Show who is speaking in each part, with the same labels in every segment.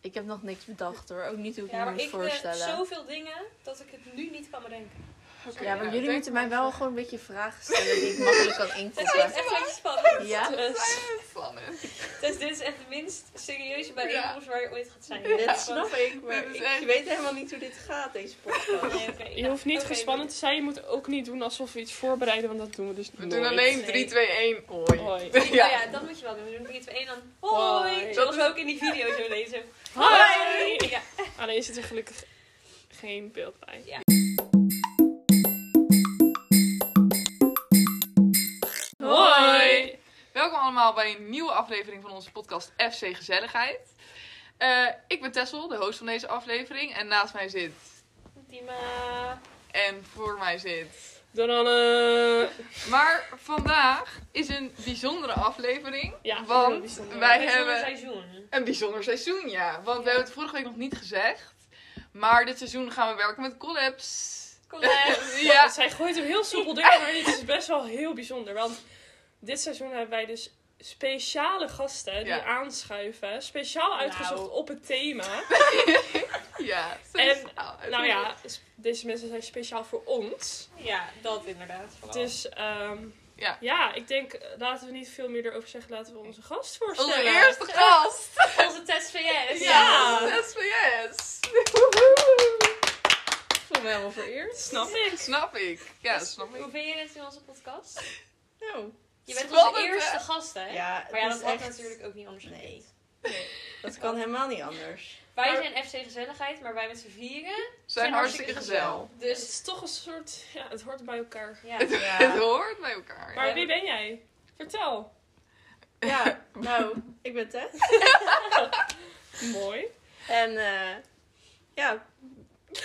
Speaker 1: Ik heb nog niks bedacht hoor. Ook niet hoe ik
Speaker 2: Ja,
Speaker 1: me
Speaker 2: maar
Speaker 1: moet
Speaker 3: eh,
Speaker 2: ik weet
Speaker 1: voorstellen.
Speaker 2: zoveel dingen dat ik het nu niet kan bedenken.
Speaker 4: Oké,
Speaker 1: Ja, maar
Speaker 4: nou,
Speaker 1: jullie
Speaker 4: denk
Speaker 1: moeten mij
Speaker 4: maar
Speaker 1: wel
Speaker 4: even.
Speaker 1: gewoon een beetje vragen stellen die ik makkelijk kan
Speaker 2: Het is
Speaker 1: inkopen.
Speaker 2: echt een beetje spannend.
Speaker 1: Ja?
Speaker 2: Dus,
Speaker 4: Spannend.
Speaker 2: dus dit is echt de minst serieuze bijeenkomst waar je ooit gaat zijn.
Speaker 3: Dat snap ik, maar
Speaker 4: Dit is
Speaker 3: ik
Speaker 4: echt-
Speaker 3: weet helemaal niet hoe dit gaat, deze podcast.
Speaker 2: Nee, oké,
Speaker 5: Je
Speaker 2: nou,
Speaker 5: hoeft niet
Speaker 2: oké,
Speaker 5: gespannen te zijn. Je moet ook niet doen alsof we iets voorbereiden, want dat doen we dus
Speaker 4: We
Speaker 5: nooit.
Speaker 4: doen alleen 3, 2, 1. Hoi.
Speaker 5: Hoi.
Speaker 2: Oh ja. dat moet je wel doen. We doen 3, 2, 1 dan. Hoi!
Speaker 5: Hoi.
Speaker 2: Zoals we ook in die video zo lezen.
Speaker 5: Hoi!
Speaker 2: Ja.
Speaker 5: Alleen zit er gelukkig geen beeld bij. Hoi!
Speaker 4: Welkom allemaal bij een nieuwe aflevering van onze podcast FC Gezelligheid. Eh, ik ben Tessel, de host van deze aflevering. En naast mij zit...
Speaker 2: Tima.
Speaker 4: En voor mij zit...
Speaker 5: Dan eh,
Speaker 4: Maar vandaag is een bijzondere aflevering.
Speaker 5: Ja, heel
Speaker 4: want
Speaker 5: bijzonder.
Speaker 4: wij
Speaker 2: Met
Speaker 4: hebben...
Speaker 2: zonder seizoen.
Speaker 4: Een bijzonder seizoen, ja. Want we hebben het vorige week nog niet gezegd. Maar dit seizoen gaan we werken met collabs.
Speaker 2: Colette.
Speaker 4: Ja,
Speaker 5: Zij gooit hem heel soepel door, maar dit is best wel heel bijzonder. Want dit seizoen hebben wij dus speciale gasten die
Speaker 4: Ja. Nou.
Speaker 5: aanschuiven. Speciaal uitgezocht op het thema.
Speaker 4: ja.
Speaker 5: En,
Speaker 4: Nou,
Speaker 5: nou ja, s- deze mensen zijn speciaal voor ons.
Speaker 2: Ja, dat inderdaad. vooral.
Speaker 5: Dus ehm,
Speaker 4: Ja.
Speaker 5: ja, ik denk eh, laten we niet veel meer erover zeggen. Laten we onze gast
Speaker 4: Oh,
Speaker 5: voorstellen.
Speaker 4: Onze eerste gast.
Speaker 2: Onze test VS.
Speaker 5: Ja.
Speaker 4: SVS.
Speaker 3: Ik voel me helemaal vereerd.
Speaker 5: Snap ik.
Speaker 4: Snap ik. Ja, snap ik.
Speaker 2: Dus Hoe vind je het in onze podcast?
Speaker 3: Nou,
Speaker 2: Je bent
Speaker 4: Spannend,
Speaker 2: onze eerste
Speaker 4: hè?
Speaker 2: gast, hè?
Speaker 3: ja, het
Speaker 2: Maar ja,
Speaker 3: is
Speaker 2: dat wordt
Speaker 3: echt-
Speaker 2: natuurlijk ook niet anders
Speaker 3: Nee.
Speaker 2: gekund.
Speaker 3: Dat kan helemaal niet anders.
Speaker 2: Wij
Speaker 4: Maar-
Speaker 2: zijn FC Gezelligheid, maar wij met z'n vieren.
Speaker 4: Zijn hartstikke gezellig.
Speaker 3: Wel.
Speaker 5: Dus
Speaker 2: Dus
Speaker 5: het is toch een soort, ja, het hoort bij elkaar.
Speaker 2: ja.
Speaker 4: Het,
Speaker 3: Ja.
Speaker 4: het hoort bij elkaar.
Speaker 5: Maar
Speaker 2: Ja.
Speaker 5: wie ben jij? Vertel.
Speaker 3: Ja, nou, ik ben Tess.
Speaker 5: Mooi.
Speaker 3: En eh, ja,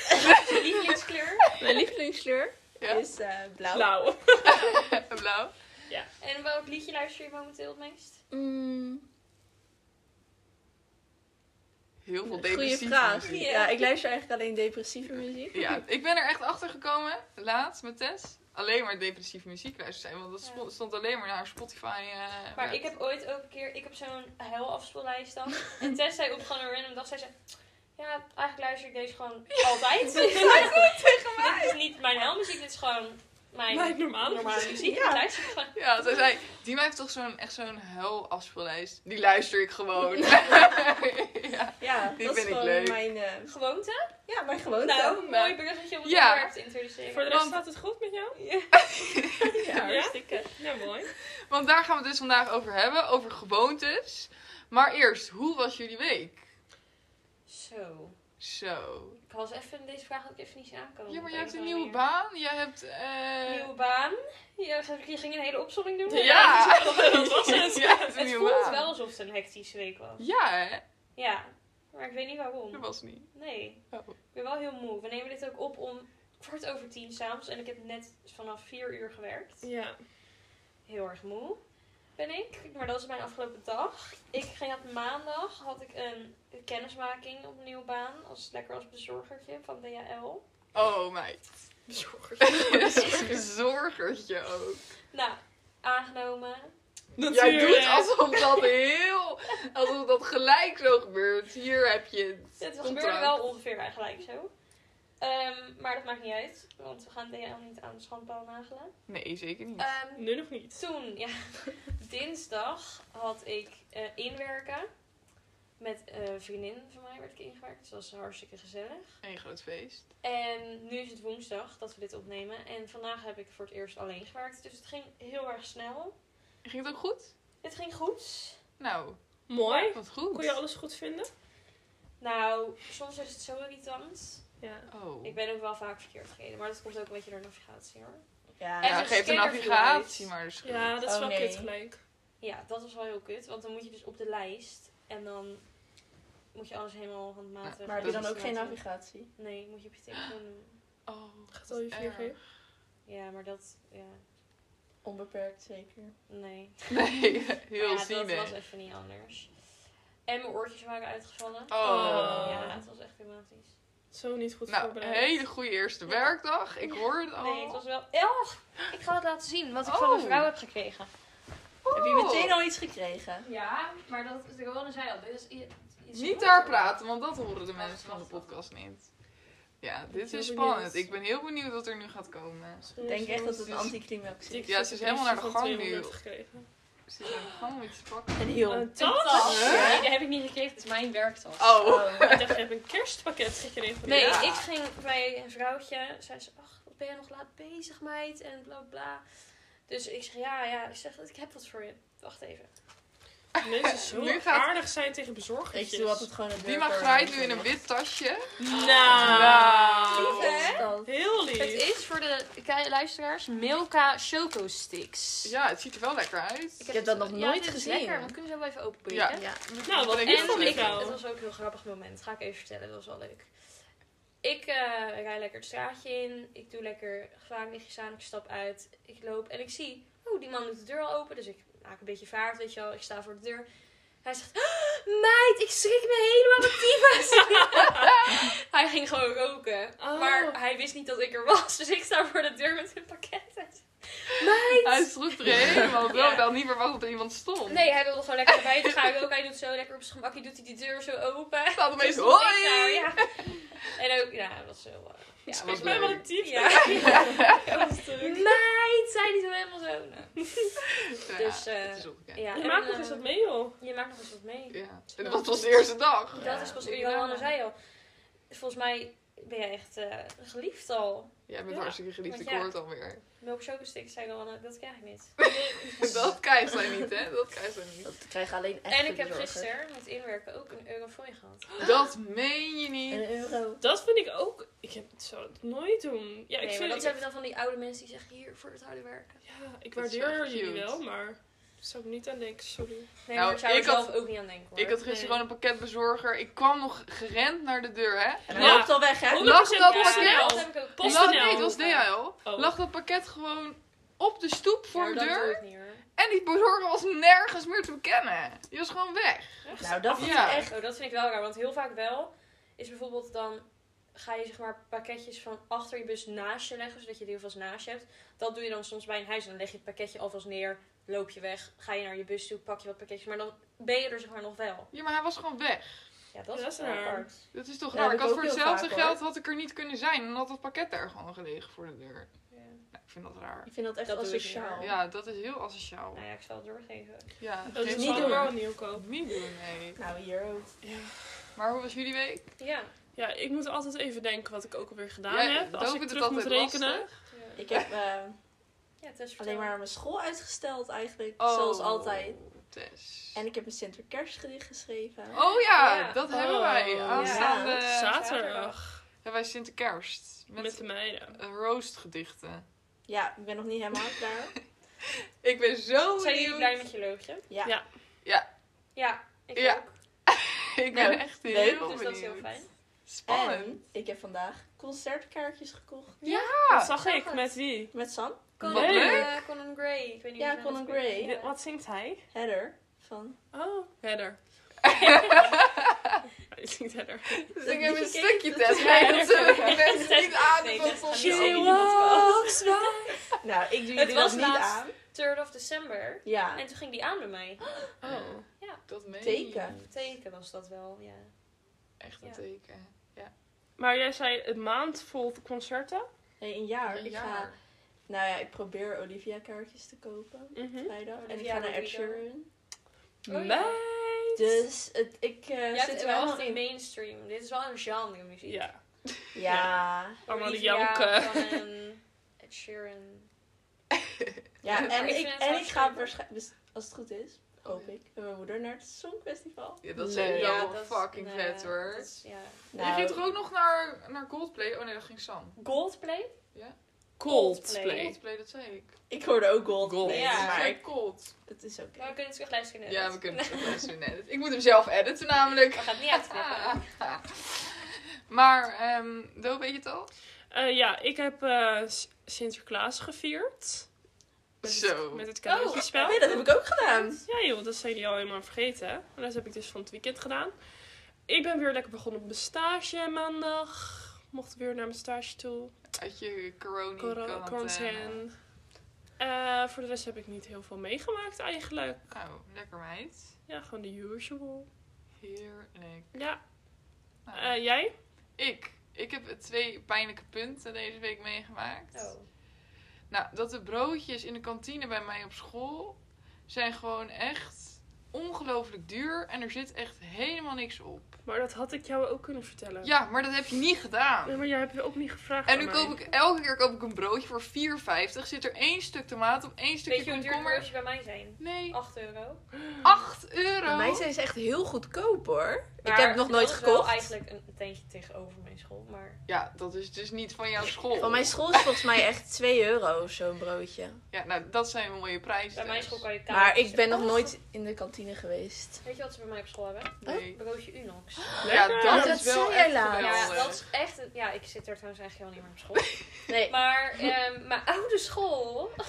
Speaker 2: je lievelingskleur.
Speaker 3: mijn lievelingskleur
Speaker 4: Ja.
Speaker 3: is eh, blauw.
Speaker 5: Blauw.
Speaker 4: Blauw.
Speaker 2: En welk liedje luister je momenteel het meest?
Speaker 3: Mm,
Speaker 4: Heel veel
Speaker 3: goeie
Speaker 4: depressieve
Speaker 3: vraag.
Speaker 4: muziek.
Speaker 3: Ja, ik luister eigenlijk alleen depressieve muziek.
Speaker 4: Ja, ik ben er echt achter gekomen, laatst met Tess. Alleen maar depressieve muziek luisteren zijn, want dat spo- stond alleen maar naar haar Spotify. eh,
Speaker 2: Maar
Speaker 4: met-
Speaker 2: ik heb ooit ook een keer, ik heb zo'n afspeellijst dan. En Tess zei op gewoon een random dag, zei ze, ja, eigenlijk luister ik deze gewoon altijd. Dit is niet mijn helmuziek, dit is gewoon mijn,
Speaker 5: Mijn normale
Speaker 2: normale
Speaker 5: muziek.
Speaker 2: muziek.
Speaker 3: Ja.
Speaker 2: Ik luister gewoon.
Speaker 4: Ja, zij zei, die heeft toch zo'n, echt zo'n hel afspeellijst. Die luister ik gewoon. ja.
Speaker 3: Ja,
Speaker 4: Die
Speaker 3: dat
Speaker 4: vind
Speaker 3: is
Speaker 4: ik
Speaker 3: gewoon
Speaker 4: leuk.
Speaker 3: mijn, eh,
Speaker 2: Gewoonte?
Speaker 3: ja, mijn gewoonte.
Speaker 2: Nou, mooi bruggetje om het
Speaker 4: Ja.
Speaker 2: onderwerp te introduceren.
Speaker 5: Voor de rest
Speaker 4: Want-
Speaker 5: gaat het goed met jou?
Speaker 2: Ja.
Speaker 3: ja,
Speaker 5: Ja?
Speaker 3: hartstikke.
Speaker 5: Ja, mooi.
Speaker 4: Want daar gaan we het dus vandaag over hebben, over gewoontes. Maar eerst, hoe was jullie week?
Speaker 2: Zo.
Speaker 4: Zo.
Speaker 2: Ik was even deze vraag ook even niet aan kan.
Speaker 4: Ja, maar jij hebt een nieuwe baan. Jij hebt... eh,
Speaker 2: Nieuwe baan. Je, je ging een hele opzomming doen.
Speaker 4: Ja.
Speaker 2: Dat was het.
Speaker 4: Ja, het is een
Speaker 2: Het
Speaker 4: nieuwe
Speaker 2: voelt
Speaker 4: baan.
Speaker 2: wel alsof het een hectische week was.
Speaker 4: Ja, hè?
Speaker 2: Ja, maar ik weet niet
Speaker 4: Dat
Speaker 2: waarom.
Speaker 4: was niet.
Speaker 2: Nee.
Speaker 4: Oh.
Speaker 2: Ik ben wel heel moe. We nemen dit ook op om kwart over tien s'avonds. En ik heb net vanaf vier uur gewerkt.
Speaker 5: Ja.
Speaker 2: Heel erg moe ben ik. Maar dat is mijn afgelopen dag. Ik ging op maandag had ik een kennismaking op een nieuwe baan. Als lekker als bezorgertje van DHL.
Speaker 4: Oh, meid. Zorgertje ook.
Speaker 2: Nou, aangenomen.
Speaker 4: Jij doet alsof dat heel... Alsof dat gelijk zo gebeurt. Hier heb je het.
Speaker 2: Het
Speaker 4: Contract.
Speaker 2: gebeurde wel ongeveer eigenlijk zo. Ehm, maar dat maakt niet uit, want we gaan DHL niet aan de schandpaal nagelen.
Speaker 4: Nee, zeker niet.
Speaker 2: Ehm,
Speaker 5: Nu nog niet.
Speaker 2: Toen, ja, dinsdag had ik eh, inwerken. Met eh, een vriendin van mij werd ik ingewerkt. Dus dat was hartstikke gezellig.
Speaker 4: Een groot feest.
Speaker 2: En nu is het woensdag dat we dit opnemen. En vandaag heb ik voor het eerst alleen gewerkt. Dus het ging heel erg snel.
Speaker 4: Ging het ook goed?
Speaker 2: Het ging goed.
Speaker 4: Nou,
Speaker 5: Mooi.
Speaker 4: wat goed.
Speaker 5: Kon je alles goed vinden?
Speaker 2: Nou, soms is het zo irritant.
Speaker 5: Ja.
Speaker 4: Oh.
Speaker 2: Ik ben ook wel vaak verkeerd gereden. Maar dat komt ook een beetje door navigatie hoor.
Speaker 3: Ja,
Speaker 2: En
Speaker 4: Ja,
Speaker 2: zo'n
Speaker 4: geef de
Speaker 2: scanner
Speaker 4: navigatie
Speaker 2: viel
Speaker 4: maar de schuld.
Speaker 5: Ja, dat is
Speaker 3: Oh,
Speaker 5: wel
Speaker 3: nee.
Speaker 5: kut gelijk.
Speaker 2: Ja, dat is wel heel kut. Want dan moet je dus op de lijst. En dan moet je alles helemaal handmatig.
Speaker 4: Ja,
Speaker 3: maar heb je dan ook geen
Speaker 2: handmatig-
Speaker 3: navigatie?
Speaker 2: Nee, moet je op je telefoon doen.
Speaker 4: Oh,
Speaker 5: Gaat al je
Speaker 4: erg.
Speaker 5: 4G?
Speaker 2: Ja, maar dat... Ja,
Speaker 3: Onbeperkt zeker.
Speaker 2: nee.
Speaker 4: Nee, heel
Speaker 2: Maar ja,
Speaker 4: zielig.
Speaker 2: dat was even niet anders. En mijn oortjes waren uitgevallen.
Speaker 4: Oh.
Speaker 2: Ja, het was echt dramatisch.
Speaker 5: Zo niet goed
Speaker 4: Nou, een
Speaker 5: voorbereid.
Speaker 4: hele goede eerste werkdag. Ik hoor het al.
Speaker 2: Nee, het was wel... Och, ik ga het laten zien. Wat ik
Speaker 4: Oh.
Speaker 2: van een vrouw heb gekregen.
Speaker 4: Oeh. Oh.
Speaker 3: Heb je meteen al iets gekregen?
Speaker 2: Ja, maar dat is wel een zijde. Dit is, iets
Speaker 4: Niet
Speaker 2: hoort.
Speaker 4: daar praten, want dat horen de
Speaker 2: Wacht,
Speaker 4: mensen van de
Speaker 2: wacht, wacht.
Speaker 4: podcast niet. Ja,
Speaker 3: ben
Speaker 4: dit
Speaker 3: heel
Speaker 4: is
Speaker 3: benieuwd.
Speaker 4: spannend. Ik ben heel benieuwd wat er nu gaat komen.
Speaker 3: Ik denk echt dat het een anticlimax is.
Speaker 4: Ja, ze is helemaal naar de gang nu.
Speaker 5: gekregen.
Speaker 4: Zit er gewoon iets te pakken?
Speaker 3: En heel. Oh.
Speaker 5: Een
Speaker 2: Een
Speaker 5: tas?
Speaker 2: tas?
Speaker 4: Hè?
Speaker 2: Nee, die heb ik niet gekregen. Het is mijn werktas.
Speaker 4: Oh.
Speaker 5: Ik dacht, je hebt een kerstpakket gekregen.
Speaker 2: Nee,
Speaker 4: Ja.
Speaker 2: ik ging bij een vrouwtje. Zei ze, ach, wat ben je nog laat bezig, meid? En bla bla. Dus ik zeg, ja, ja. Ik zeg, ik heb wat voor je. Wacht even.
Speaker 5: Mensen zo
Speaker 4: Nu gaat-
Speaker 5: aardig zijn tegen bezorgertjes.
Speaker 3: Ik doe altijd gewoon een
Speaker 4: Die mag rijdt nu in een wit tasje.
Speaker 5: Ah. Nou.
Speaker 2: Lief, hè?
Speaker 5: Heel lief.
Speaker 2: Het is voor de kei- luisteraars Milka Choco Sticks.
Speaker 4: Ja, het ziet er wel lekker uit.
Speaker 3: Ik heb dat nog
Speaker 2: ja,
Speaker 3: nooit
Speaker 2: dit is
Speaker 3: gezien.
Speaker 2: lekker. Dat kunnen we zo wel even
Speaker 4: Ja.
Speaker 2: openbreken.
Speaker 3: Ja.
Speaker 5: Nou, wat
Speaker 4: En-
Speaker 5: lief van
Speaker 2: ik,
Speaker 5: ik
Speaker 2: het
Speaker 5: nou.
Speaker 2: was ook een heel grappig moment. Ga ik even vertellen, dat was wel leuk. Ik eh rijd lekker het straatje in. Ik doe lekker gevaarlichtjes aan. Ik stap uit. Ik loop en ik zie, oeh, die man doet de deur al open. Dus ik maak een beetje vaart, weet je wel. Ik sta voor de deur. Hij zegt, "Ah, meid, ik schrik me helemaal met tyfus. hij ging gewoon roken.
Speaker 5: Oh.
Speaker 2: Maar hij wist niet dat ik er was. Dus ik sta voor de deur met een pakket. Hij zegt,
Speaker 4: Hij sloeg er helemaal wel.
Speaker 2: Ja.
Speaker 4: Ik had niet verwacht dat er iemand stond.
Speaker 2: Nee, hij wilde gewoon lekker naar buiten gaan roken. Hij doet zo lekker op zijn gemakje. Doet hij die deur zo open.
Speaker 4: staat
Speaker 2: Dus
Speaker 4: opeens
Speaker 2: dat ik
Speaker 4: hoi!
Speaker 2: nou, ja. En ook, ja, dat was heel... eh, ja,
Speaker 4: was
Speaker 5: Ik ben wel
Speaker 4: leuk.
Speaker 5: een type.
Speaker 2: Ja. Meid, zei die zo helemaal zo. Nou,
Speaker 4: Ja,
Speaker 2: Dus, eh,
Speaker 4: het is ongekend.
Speaker 2: ja,
Speaker 5: Je
Speaker 2: en,
Speaker 5: maakt nog
Speaker 2: eh,
Speaker 5: eens wat mee, joh.
Speaker 2: Je maakt nog eens wat mee.
Speaker 4: Ja. En dat was de eerste dag.
Speaker 2: Dat is pas
Speaker 4: Ja.
Speaker 2: Johanna zei al. Volgens mij ben jij echt eh, geliefd al.
Speaker 4: Jij bent
Speaker 5: Ja.
Speaker 4: hartstikke geliefd,
Speaker 2: Want
Speaker 4: ik
Speaker 2: ja.
Speaker 4: hoor het alweer.
Speaker 2: Milk chocosticks, zei Johanna, dat krijg ik niet.
Speaker 4: Dat krijgt zij niet, hè? Dat krijgt zij niet.
Speaker 3: Dat krijgen alleen echt
Speaker 2: En ik heb gisteren met inwerken ook een eurofooi gehad.
Speaker 4: Dat meen je niet.
Speaker 3: Een euro.
Speaker 5: Dat vind ik ook... Ik heb, zou het nooit doen. Ja,
Speaker 2: Nee,
Speaker 5: ik
Speaker 2: maar
Speaker 5: vind...
Speaker 2: dat
Speaker 5: ik,
Speaker 2: zijn dan van die oude mensen die zeggen hier voor het harde werken.
Speaker 5: ja, ik
Speaker 4: Dat is
Speaker 5: waardeer
Speaker 4: wel
Speaker 5: jullie
Speaker 4: cute.
Speaker 5: wel, maar... Daar zou ik niet aan denken, sorry.
Speaker 2: Nee,
Speaker 4: Nou,
Speaker 2: maar ik zou er
Speaker 4: ik had-
Speaker 2: zelf ook niet aan denken hoor.
Speaker 4: Ik had gisteren
Speaker 5: Nee.
Speaker 4: gewoon een pakketbezorger. Ik kwam nog gerend naar de deur, hè?
Speaker 3: En hij
Speaker 5: Ja.
Speaker 3: loopt al weg, hè?
Speaker 5: Honderd
Speaker 4: Lag
Speaker 5: procent
Speaker 4: dat
Speaker 5: ja,
Speaker 4: pakket?
Speaker 5: snel.
Speaker 2: dat heb ik ook.
Speaker 5: Post-
Speaker 4: Lag,
Speaker 5: PostNL.
Speaker 4: nee, het was DHL.
Speaker 5: Oh.
Speaker 4: Lag dat pakket gewoon op de stoep voor
Speaker 2: Ja,
Speaker 4: de
Speaker 2: dat doe
Speaker 4: deur.
Speaker 2: ik niet, hoor.
Speaker 4: En die bezorger was nergens meer te bekennen. Die was gewoon weg.
Speaker 3: Nou, dat is
Speaker 4: Ja.
Speaker 3: echt...
Speaker 2: Oh, dat vind ik wel raar, want heel vaak wel is bijvoorbeeld dan ga je zeg maar pakketjes van achter je bus naast je leggen, zodat je die alvast naast je hebt. Dat doe je dan soms bij een huis en dan leg je het pakketje alvast neer, loop je weg, ga je naar je bus toe, pak je wat pakketjes, maar dan ben je er zeg maar nog wel.
Speaker 4: Ja, maar hij was gewoon weg.
Speaker 2: Ja, dat,
Speaker 5: Dat
Speaker 2: is
Speaker 5: is
Speaker 2: wel
Speaker 5: raar.
Speaker 2: apart.
Speaker 4: Dat is toch
Speaker 3: Ja,
Speaker 4: raar.
Speaker 3: dat
Speaker 4: Ik had
Speaker 3: ook
Speaker 4: voor
Speaker 3: heel
Speaker 4: hetzelfde
Speaker 3: vaak,
Speaker 4: geld had ik er niet kunnen zijn. En dan had het pakket daar gewoon gelegen voor de deur. Nou, ik vind dat raar.
Speaker 3: Ik vind dat echt
Speaker 2: Dat doe ik niet,
Speaker 3: asociaal.
Speaker 2: hoor.
Speaker 4: Ja, dat is heel asociaal.
Speaker 2: Nou ja, ik zal het doorgeven.
Speaker 4: Ja,
Speaker 5: Dat is
Speaker 4: geen
Speaker 3: niet
Speaker 5: niet
Speaker 4: zorgen.
Speaker 5: allemaal nieuw kopen.
Speaker 4: Niet doen, nee.
Speaker 3: Nou, hier ook.
Speaker 4: Maar hoe was jullie week?
Speaker 2: Ja.
Speaker 5: Ja, ik moet altijd even denken wat ik ook alweer gedaan
Speaker 4: Jij-
Speaker 5: heb. Als
Speaker 4: Dovi
Speaker 5: ik
Speaker 4: doet
Speaker 5: terug moet
Speaker 4: altijd
Speaker 5: rekenen.
Speaker 4: lastig.
Speaker 2: Ja,
Speaker 3: Ik heb eh,
Speaker 2: ja Tess, vertel.
Speaker 3: alleen maar mijn school uitgesteld eigenlijk,
Speaker 4: Oh,
Speaker 3: zoals altijd.
Speaker 4: Tess.
Speaker 3: En ik heb een Sinterkerstgedicht geschreven.
Speaker 4: Oh ja,
Speaker 2: Ja.
Speaker 4: dat
Speaker 5: Oh.
Speaker 4: hebben wij.
Speaker 5: Ja.
Speaker 4: Aanstaande
Speaker 5: Zaterdag.
Speaker 4: hebben wij Sinterkerst. Eh, Met,
Speaker 5: Met, de meiden.
Speaker 4: eh, roostgedichten.
Speaker 3: Ja, ik ben nog niet helemaal klaar.
Speaker 4: Ik ben
Speaker 2: Zijn
Speaker 4: zo
Speaker 2: jullie
Speaker 4: benieuwd.
Speaker 2: blij met je loogje?
Speaker 3: Ja.
Speaker 5: Ja.
Speaker 4: Ja.
Speaker 2: Ja, ik
Speaker 4: Ja,
Speaker 2: ook.
Speaker 4: Ik ben
Speaker 3: Nou,
Speaker 4: echt
Speaker 3: leuk,
Speaker 4: heel
Speaker 2: Dus
Speaker 4: benieuwd.
Speaker 2: dat is heel fijn.
Speaker 4: Spannend.
Speaker 3: En ik heb vandaag concertkaartjes gekocht.
Speaker 5: dat zag
Speaker 2: zag
Speaker 5: ik.
Speaker 2: het.
Speaker 5: Met wie?
Speaker 3: Met Sam.
Speaker 2: Conan,
Speaker 4: Wat leuk.
Speaker 2: eh, Conan Gray. Ik weet niet
Speaker 3: Ja,
Speaker 2: hoe ze
Speaker 3: Conan
Speaker 2: hem uitspreken.
Speaker 3: Gray.
Speaker 5: Dit- Eh, Wat zingt hij?
Speaker 3: Heather. Van.
Speaker 5: Oh, verder. Hij zingt verder.
Speaker 4: Zing
Speaker 3: Dat
Speaker 4: even
Speaker 3: liedje
Speaker 4: Dus
Speaker 3: ken
Speaker 4: een
Speaker 3: je
Speaker 4: stukje,
Speaker 3: toch?
Speaker 4: Tess. Nee, dat zullen de
Speaker 2: Nee,
Speaker 4: mensen niet aan.
Speaker 2: nee,
Speaker 4: van
Speaker 2: dat gaan
Speaker 4: ons.
Speaker 2: we niet doen.
Speaker 3: Nou, ik doe
Speaker 2: Het
Speaker 3: jullie
Speaker 2: was
Speaker 3: dat niet
Speaker 2: laatst.
Speaker 3: aan.
Speaker 2: 3rd of December.
Speaker 3: Ja.
Speaker 2: En toen ging die aan bij mij.
Speaker 4: Oh,
Speaker 2: Ja.
Speaker 4: dat meen
Speaker 3: Teken.
Speaker 4: je.
Speaker 2: Teken was dat wel, ja.
Speaker 4: Echt
Speaker 2: Ja.
Speaker 4: een teken.
Speaker 5: Maar jij zei een maand vol concerten.
Speaker 3: Nee, een jaar.
Speaker 4: Een
Speaker 3: Ik ga,
Speaker 4: jaar.
Speaker 3: nou ja, ik probeer Olivia kaartjes te kopen. Vrijdag. en ik
Speaker 2: Olivia
Speaker 3: ga naar Ed
Speaker 2: Rodrigo.
Speaker 3: Sheeran.
Speaker 2: Oh, ja.
Speaker 5: Meid.
Speaker 3: Dus het, ik eh,
Speaker 2: Je
Speaker 3: zit
Speaker 2: hebt
Speaker 3: er
Speaker 2: wel
Speaker 3: helemaal
Speaker 2: echt een
Speaker 3: in.
Speaker 2: mainstream. Dit is wel een genre muziek.
Speaker 5: Ja.
Speaker 3: Ja.
Speaker 5: Allemaal die
Speaker 2: Olivia, eh,
Speaker 5: janken.
Speaker 2: Conan, Ed Sheeran.
Speaker 3: Ja, en
Speaker 2: Ik
Speaker 3: ik,
Speaker 2: vind het
Speaker 3: en
Speaker 2: wel
Speaker 3: ik
Speaker 2: scherp.
Speaker 3: ga waarschijnlijk, als het goed is, hoop ik, met mijn moeder naar het Songfestival.
Speaker 4: Ja, dat is
Speaker 3: Nee.
Speaker 4: echt
Speaker 3: Ja,
Speaker 4: wel
Speaker 2: dat-
Speaker 4: fucking
Speaker 2: nee,
Speaker 4: vet hoor.
Speaker 2: dat is- ja.
Speaker 4: Je
Speaker 3: Nou,
Speaker 4: ging toch ook nog naar, naar Coldplay? Oh nee, dat ging Sam.
Speaker 2: Goldplay?
Speaker 5: Coldplay.
Speaker 4: Coldplay, dat zei ik.
Speaker 3: Ik hoorde ook Gold.
Speaker 5: Gold.
Speaker 2: Ja. Oh.
Speaker 3: maar
Speaker 4: Zei
Speaker 3: ik-
Speaker 4: Cold.
Speaker 3: het is oké.
Speaker 2: Maar we kunnen het terugluisteren. net.
Speaker 4: Ja, we kunnen het ook luisteren net. Ik moet hem zelf editen namelijk.
Speaker 2: We gaan het niet uitknippen.
Speaker 4: maar, ehm Do, weet je het al?
Speaker 5: Eh, ja, ik heb eh, S- Sinterklaas gevierd. Met
Speaker 4: Zo.
Speaker 5: Het, met het cadeautjespel.
Speaker 3: Nee, dat Oh, heb ik ook gedaan.
Speaker 5: Ja joh, dat zijn jullie al helemaal vergeten. hè? En dat heb ik dus van het weekend gedaan. Ik ben weer lekker begonnen op mijn stage maandag. Mocht weer naar mijn stage toe.
Speaker 4: Uit je corona
Speaker 5: Corona-
Speaker 4: quarantaine.
Speaker 5: quarantaine. Eh, voor de rest heb ik niet heel veel meegemaakt eigenlijk.
Speaker 4: Oh, lekker Nou, meid.
Speaker 5: Ja, gewoon de usual.
Speaker 4: Heerlijk.
Speaker 5: Ja,
Speaker 4: Nou,
Speaker 5: eh, jij?
Speaker 4: ik. Ik heb twee pijnlijke punten deze week meegemaakt.
Speaker 5: Oh.
Speaker 2: Oh.
Speaker 4: Nou, dat de broodjes in de kantine bij mij op school zijn gewoon echt ongelooflijk duur. En er zit echt helemaal niks op.
Speaker 5: Maar dat had ik jou ook kunnen vertellen.
Speaker 4: Ja, maar dat heb je niet gedaan.
Speaker 5: Nee, maar jij hebt ook niet gevraagd
Speaker 4: En nu
Speaker 5: aan
Speaker 4: koop
Speaker 5: mij.
Speaker 4: ik elke keer koop ik een broodje voor 4,50. Zit er één stuk tomaat op, één
Speaker 2: Weet
Speaker 4: stukje
Speaker 2: je hoe duur Oh.
Speaker 4: komkommer.
Speaker 2: broodjes bij mij zijn?
Speaker 4: Nee,
Speaker 2: 8 euro.
Speaker 4: 8 euro.
Speaker 3: Bij mij zijn ze echt heel goedkoop hoor.
Speaker 2: Maar
Speaker 3: ik heb nog nooit
Speaker 2: dat is wel
Speaker 3: gekocht.
Speaker 2: eigenlijk een tentje tegenover mijn school, maar...
Speaker 4: Ja, dat is dus niet van jouw school.
Speaker 3: Van mijn school is volgens mij echt 2 euro zo'n broodje.
Speaker 4: Ja, nou, dat zijn mooie prijzen.
Speaker 2: Bij mijn
Speaker 4: dus.
Speaker 2: school kan je kaartjes...
Speaker 3: Maar ik ben nog
Speaker 2: Oh,
Speaker 3: nooit in de kantine geweest.
Speaker 2: Weet je wat ze bij mij op school hebben?
Speaker 4: Nee.
Speaker 2: Broodje Unox.
Speaker 3: Ah,
Speaker 4: Ja, dat,
Speaker 5: Lekker.
Speaker 3: dat
Speaker 4: is wel
Speaker 3: zei jij
Speaker 4: echt
Speaker 3: laatst.
Speaker 2: Ja,
Speaker 4: geweldig.
Speaker 2: dat is echt een... Ja, ik zit er trouwens eigenlijk helemaal niet meer op school.
Speaker 3: Nee,
Speaker 2: Maar ehm, mijn oude school,
Speaker 4: Dat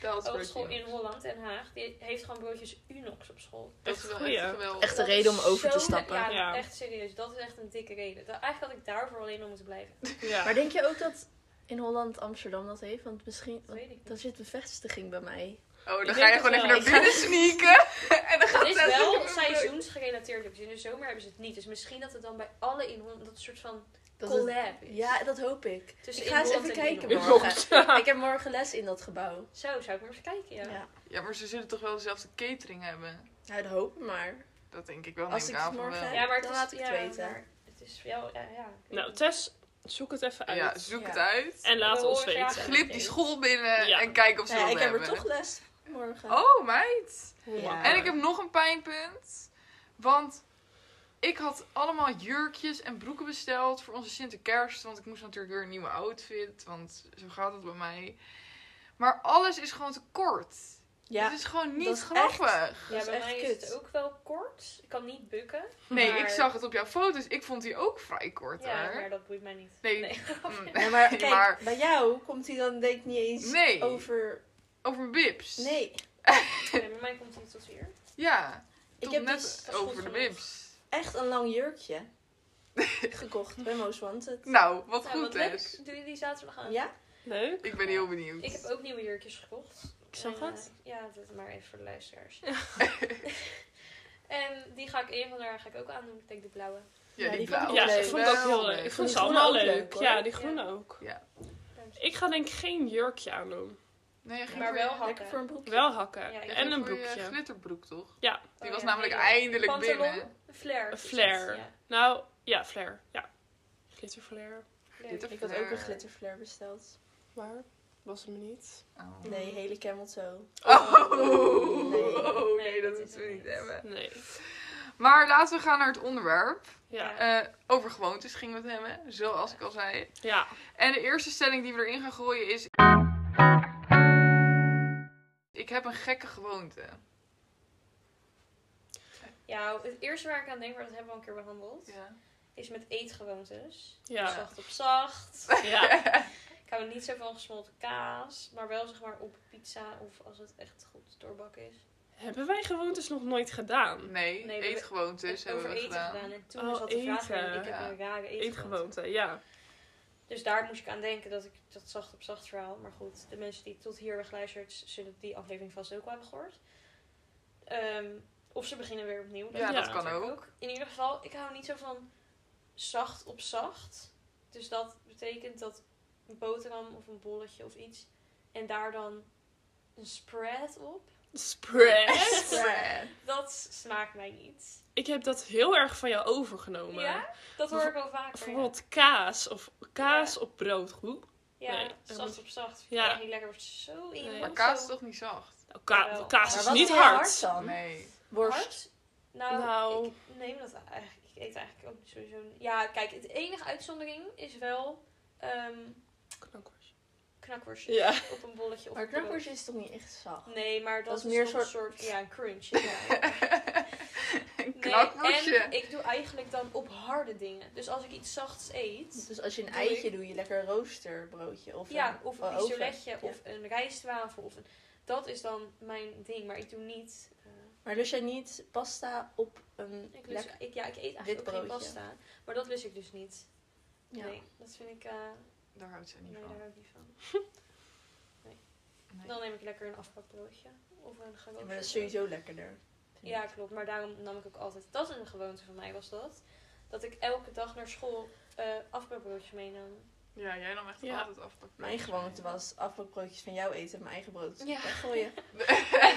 Speaker 4: is
Speaker 2: oude
Speaker 4: broodje.
Speaker 2: school in Holland, Den Haag, die heeft gewoon broodjes Unox op school.
Speaker 4: Dat is wel
Speaker 5: Goeie.
Speaker 4: echt geweldig.
Speaker 3: echt de
Speaker 2: Dat
Speaker 3: reden om
Speaker 2: is
Speaker 3: over te
Speaker 2: zo'n-
Speaker 3: stappen.
Speaker 2: Ja,
Speaker 5: Ja.
Speaker 2: echt serieus. Dat is echt een dikke reden. Dat- eigenlijk had ik daarvoor alleen nog moeten blijven.
Speaker 5: Ja.
Speaker 3: Maar denk je ook dat in Holland Amsterdam dat heeft? Want misschien...
Speaker 2: Dat weet ik
Speaker 3: Dan
Speaker 2: niet.
Speaker 3: zit bevestiging bij mij.
Speaker 4: Oh, dan
Speaker 5: Ik
Speaker 4: ga je
Speaker 5: denk
Speaker 4: gewoon
Speaker 5: het
Speaker 4: even
Speaker 5: wel.
Speaker 4: naar binnen sneaken. en dan gaat
Speaker 2: Het is
Speaker 4: Tess even
Speaker 2: wel
Speaker 4: een
Speaker 2: seizoensgerelateerd. Dus in de zomer hebben ze het niet. Dus misschien dat het dan bij alle in Holland dat een soort van
Speaker 3: Dat het-
Speaker 2: collab is.
Speaker 3: Ja, dat hoop ik.
Speaker 2: Tussen
Speaker 3: ik ga eens
Speaker 2: Inholland
Speaker 3: even
Speaker 2: en
Speaker 3: kijken
Speaker 2: Inholland.
Speaker 3: morgen. Ik heb morgen les in dat gebouw.
Speaker 2: Zo, zou ik maar eens kijken, ja.
Speaker 3: Ja.
Speaker 4: broodje. Ja, maar ze zullen toch wel dezelfde catering hebben?
Speaker 3: Nou, dat hoop ik maar.
Speaker 4: Dat denk ik wel,
Speaker 3: Als
Speaker 4: neem
Speaker 3: ik het
Speaker 4: aan van
Speaker 3: morgen
Speaker 4: wel.
Speaker 3: heb,
Speaker 2: Ja, maar het
Speaker 3: Dan
Speaker 2: is,
Speaker 3: laat ik het
Speaker 2: ja,
Speaker 3: weten.
Speaker 2: maar het is wel, ja, ja. ik weet
Speaker 5: Nou,
Speaker 2: niet.
Speaker 5: Tess, zoek het even uit.
Speaker 4: Ja, zoek
Speaker 3: Ja.
Speaker 4: het uit.
Speaker 5: En laat
Speaker 2: We
Speaker 5: ons
Speaker 2: horen
Speaker 5: weten.
Speaker 2: graag.
Speaker 4: Glip die school binnen
Speaker 5: Ja.
Speaker 4: en kijk of ze
Speaker 3: Nou ja,
Speaker 4: dat
Speaker 3: ik heb er
Speaker 4: hebben.
Speaker 3: toch les morgen.
Speaker 4: Oh, meid.
Speaker 5: Hoe
Speaker 3: Ja.
Speaker 5: makkelijk.
Speaker 4: En ik heb nog een pijnpunt. Want ik had allemaal jurkjes en broeken besteld voor onze Sinterkerst. Want ik moest natuurlijk weer een nieuwe outfit. Want zo gaat het bij mij. Maar alles is gewoon te kort.
Speaker 3: Ja,
Speaker 4: Het is gewoon niet
Speaker 3: dat is
Speaker 4: grappig.
Speaker 3: dat
Speaker 2: Ja,
Speaker 3: is
Speaker 2: bij
Speaker 3: Dus echt
Speaker 2: mij is
Speaker 3: kut.
Speaker 2: het ook wel kort. Ik kan niet bukken.
Speaker 4: Nee,
Speaker 2: Maar-
Speaker 4: ik zag het op jouw foto's. Ik vond die ook vrij kort
Speaker 2: Ja,
Speaker 4: hoor.
Speaker 2: maar dat boeit mij niet.
Speaker 4: Nee.
Speaker 2: grapje.
Speaker 4: Mm.
Speaker 3: Ja, maar kijk,
Speaker 4: Maar-
Speaker 3: bij jou komt hij dan denk ik niet eens
Speaker 4: Nee.
Speaker 3: over...
Speaker 4: Over mijn bips.
Speaker 3: Nee,
Speaker 2: Nee, bij mij komt hij tot hier.
Speaker 4: Ja,
Speaker 3: ik
Speaker 4: tot
Speaker 3: heb
Speaker 4: net
Speaker 3: dus
Speaker 2: dat is
Speaker 4: over
Speaker 2: goed
Speaker 4: de
Speaker 2: genoeg.
Speaker 4: bips.
Speaker 3: echt een lang jurkje gekocht bij Most Wanted.
Speaker 4: Nou, wat
Speaker 2: Nou,
Speaker 4: goed
Speaker 2: wat
Speaker 4: is.
Speaker 2: leuk. Doe je die zaterdag aan?
Speaker 3: Ja?
Speaker 5: Leuk.
Speaker 4: Ik ben heel benieuwd.
Speaker 2: Ik heb ook nieuwe jurkjes gekocht.
Speaker 5: Ik zag
Speaker 2: En, eh,
Speaker 5: het.
Speaker 2: ja, dat maar even voor de luisteraars. en die ga ik een van daar ga ik ook aandoen. Ik denk de blauwe.
Speaker 4: Ja, die
Speaker 3: die vond ik
Speaker 4: blauwe.
Speaker 3: ook
Speaker 5: Ja,
Speaker 3: leuk.
Speaker 5: ik vond het ook heel leuk. Ik vond ze
Speaker 3: Die groene
Speaker 5: allemaal
Speaker 3: ook
Speaker 5: leuk.
Speaker 3: leuk, hoor.
Speaker 5: ja, die groene ook.
Speaker 2: Dankzij-
Speaker 5: Ik ga denk ik geen jurkje aandoen.
Speaker 4: Nee, je ging
Speaker 2: Maar
Speaker 4: voor
Speaker 2: wel
Speaker 4: je-
Speaker 2: hakken.
Speaker 3: Lekker voor een broekje.
Speaker 5: Wel hakken.
Speaker 2: Ja, ik
Speaker 4: je
Speaker 5: en
Speaker 4: ging
Speaker 5: een
Speaker 4: voor je
Speaker 5: broekje.
Speaker 4: eh, glitterbroek, toch?
Speaker 5: Ja.
Speaker 4: Die
Speaker 2: Oh
Speaker 4: was
Speaker 2: ja,
Speaker 4: namelijk
Speaker 2: hele-
Speaker 4: eindelijk
Speaker 2: Pantalon?
Speaker 4: binnen.
Speaker 2: Een flare.
Speaker 5: Een
Speaker 2: is
Speaker 5: flare.
Speaker 2: het, Ja,
Speaker 5: Nou, ja, flair. Ja. Glitterflair.
Speaker 2: Flare.
Speaker 3: Ik had ook een glitterflare besteld.
Speaker 5: Maar was het me niet.
Speaker 4: Oh.
Speaker 3: Nee, hele camel toe.
Speaker 4: Oh.
Speaker 3: Nee.
Speaker 4: Oh, nee,
Speaker 2: Nee,
Speaker 4: dat
Speaker 2: dat
Speaker 4: moeten
Speaker 2: is
Speaker 4: we
Speaker 2: het
Speaker 4: niet
Speaker 2: niet.
Speaker 4: hebben.
Speaker 5: Nee.
Speaker 4: Maar laten we gaan naar het onderwerp.
Speaker 5: Ja.
Speaker 4: Eh, over gewoontes gingen we het hebben, zoals ik al zei.
Speaker 5: Ja.
Speaker 4: En de eerste stelling die we erin gaan gooien is. Ik heb een gekke gewoonte.
Speaker 2: Ja, het eerste waar ik aan denk, maar dat hebben we al een keer behandeld,
Speaker 4: Ja.
Speaker 2: is met eetgewoontes.
Speaker 5: Ja.
Speaker 2: Zacht op zacht.
Speaker 5: Ja.
Speaker 2: Ik hou niet zo van gesmolten kaas, maar wel zeg maar op pizza of als het echt goed doorbakken is.
Speaker 5: Hebben wij gewoontes nog nooit gedaan?
Speaker 4: Nee,
Speaker 2: Nee, we-
Speaker 4: eetgewoontes
Speaker 2: over
Speaker 4: hebben we
Speaker 2: eten
Speaker 4: gedaan.
Speaker 2: gedaan. En toen
Speaker 5: Oh,
Speaker 2: was dat de vraag,
Speaker 5: eten.
Speaker 2: en ik heb
Speaker 4: Ja.
Speaker 2: een rare eetgewoonte.
Speaker 5: Eetgewoonte, ja.
Speaker 2: Dus daar moest ik aan denken dat ik dat zacht op zacht verhaal. Maar goed, de mensen die tot hier hebben geluisterd, zullen die aflevering vast ook wel hebben gehoord. Ehm, of ze beginnen weer opnieuw.
Speaker 4: Ja,
Speaker 5: dat
Speaker 2: kan
Speaker 4: kan
Speaker 2: natuurlijk
Speaker 4: ook.
Speaker 2: In ieder geval, ik hou niet zo van zacht op zacht. Dus dat betekent dat een boterham of een bolletje of iets. En daar dan een spread op.
Speaker 5: Spread.
Speaker 2: Dat smaakt mij niet.
Speaker 5: Ik heb dat heel erg van jou overgenomen.
Speaker 2: Ja? Dat hoor ik wel vaker. Ja,
Speaker 5: Oh, Bijvoorbeeld kaas of kaas op brood. Hoe?
Speaker 2: ja
Speaker 5: Nee,
Speaker 2: zacht op zacht.
Speaker 5: Ja.
Speaker 2: Ja. Heel lekker wordt zo in je
Speaker 5: Nee.
Speaker 2: mond,
Speaker 4: Maar kaas is
Speaker 2: zo
Speaker 4: toch niet zacht?
Speaker 5: Nou, ka-
Speaker 2: Jawel.
Speaker 5: kaas
Speaker 2: Maar
Speaker 5: is
Speaker 2: wat
Speaker 5: niet
Speaker 3: heel
Speaker 5: hard.
Speaker 3: dan?
Speaker 4: Nee.
Speaker 3: Worst.
Speaker 2: Hard? Nou,
Speaker 5: Nou.
Speaker 2: ik neem dat eigenlijk. Ik eet eigenlijk ook sowieso. niet- Ja, kijk, het enige uitzondering is wel ehm
Speaker 5: Knakworst.
Speaker 2: knakworstjes
Speaker 5: Ja.
Speaker 2: op een bolletje of
Speaker 3: Maar
Speaker 2: op brood.
Speaker 3: knakworst is toch niet echt zacht?
Speaker 2: Nee, maar dat,
Speaker 3: Dat is
Speaker 2: is,
Speaker 3: meer
Speaker 2: toch een
Speaker 3: soort-
Speaker 2: soort. Ja, een crunch. Ja.
Speaker 4: Een
Speaker 2: Nee,
Speaker 4: knakworstje.
Speaker 2: en ik doe eigenlijk dan op harde dingen. Dus als ik iets zachts eet.
Speaker 3: Dus als je een
Speaker 2: Doe ik.
Speaker 3: eitje doet, je lekker een roosterbroodje. Of
Speaker 2: Ja,
Speaker 3: een,
Speaker 2: of
Speaker 3: eh,
Speaker 2: een
Speaker 3: oven.
Speaker 2: isoletje
Speaker 3: Ja.
Speaker 2: of een rijstwafel. Of een, dat is dan mijn ding. Maar ik doe niet. eh,
Speaker 3: Maar lust jij niet pasta op een
Speaker 2: ik lust,
Speaker 3: lekker...
Speaker 2: ik, ja, ik eet eigenlijk
Speaker 3: Wit
Speaker 2: ook geen
Speaker 3: broodje.
Speaker 2: pasta. Maar dat lust ik dus niet.
Speaker 3: Ja.
Speaker 2: Nee, dat vind ik. eh,
Speaker 4: Daar houdt ze niet
Speaker 2: Nee, daar
Speaker 4: van.
Speaker 2: hou ik niet van.
Speaker 4: Nee.
Speaker 2: Dan neem ik lekker een afpakbroodje. Of een
Speaker 3: Ja,
Speaker 2: gewoon.
Speaker 3: Maar dat is sowieso lekkerder.
Speaker 2: Ja, klopt. Maar daarom nam ik ook altijd... Dat is een gewoonte van mij, was dat. Dat ik elke dag naar school eh afbroodjes meenam.
Speaker 4: Ja, jij nam echt
Speaker 5: Ja.
Speaker 4: altijd afpakken.
Speaker 3: Mijn gewoonte was afbroodjes van jou eten en mijn eigen brood
Speaker 2: Ja.
Speaker 3: weggooien.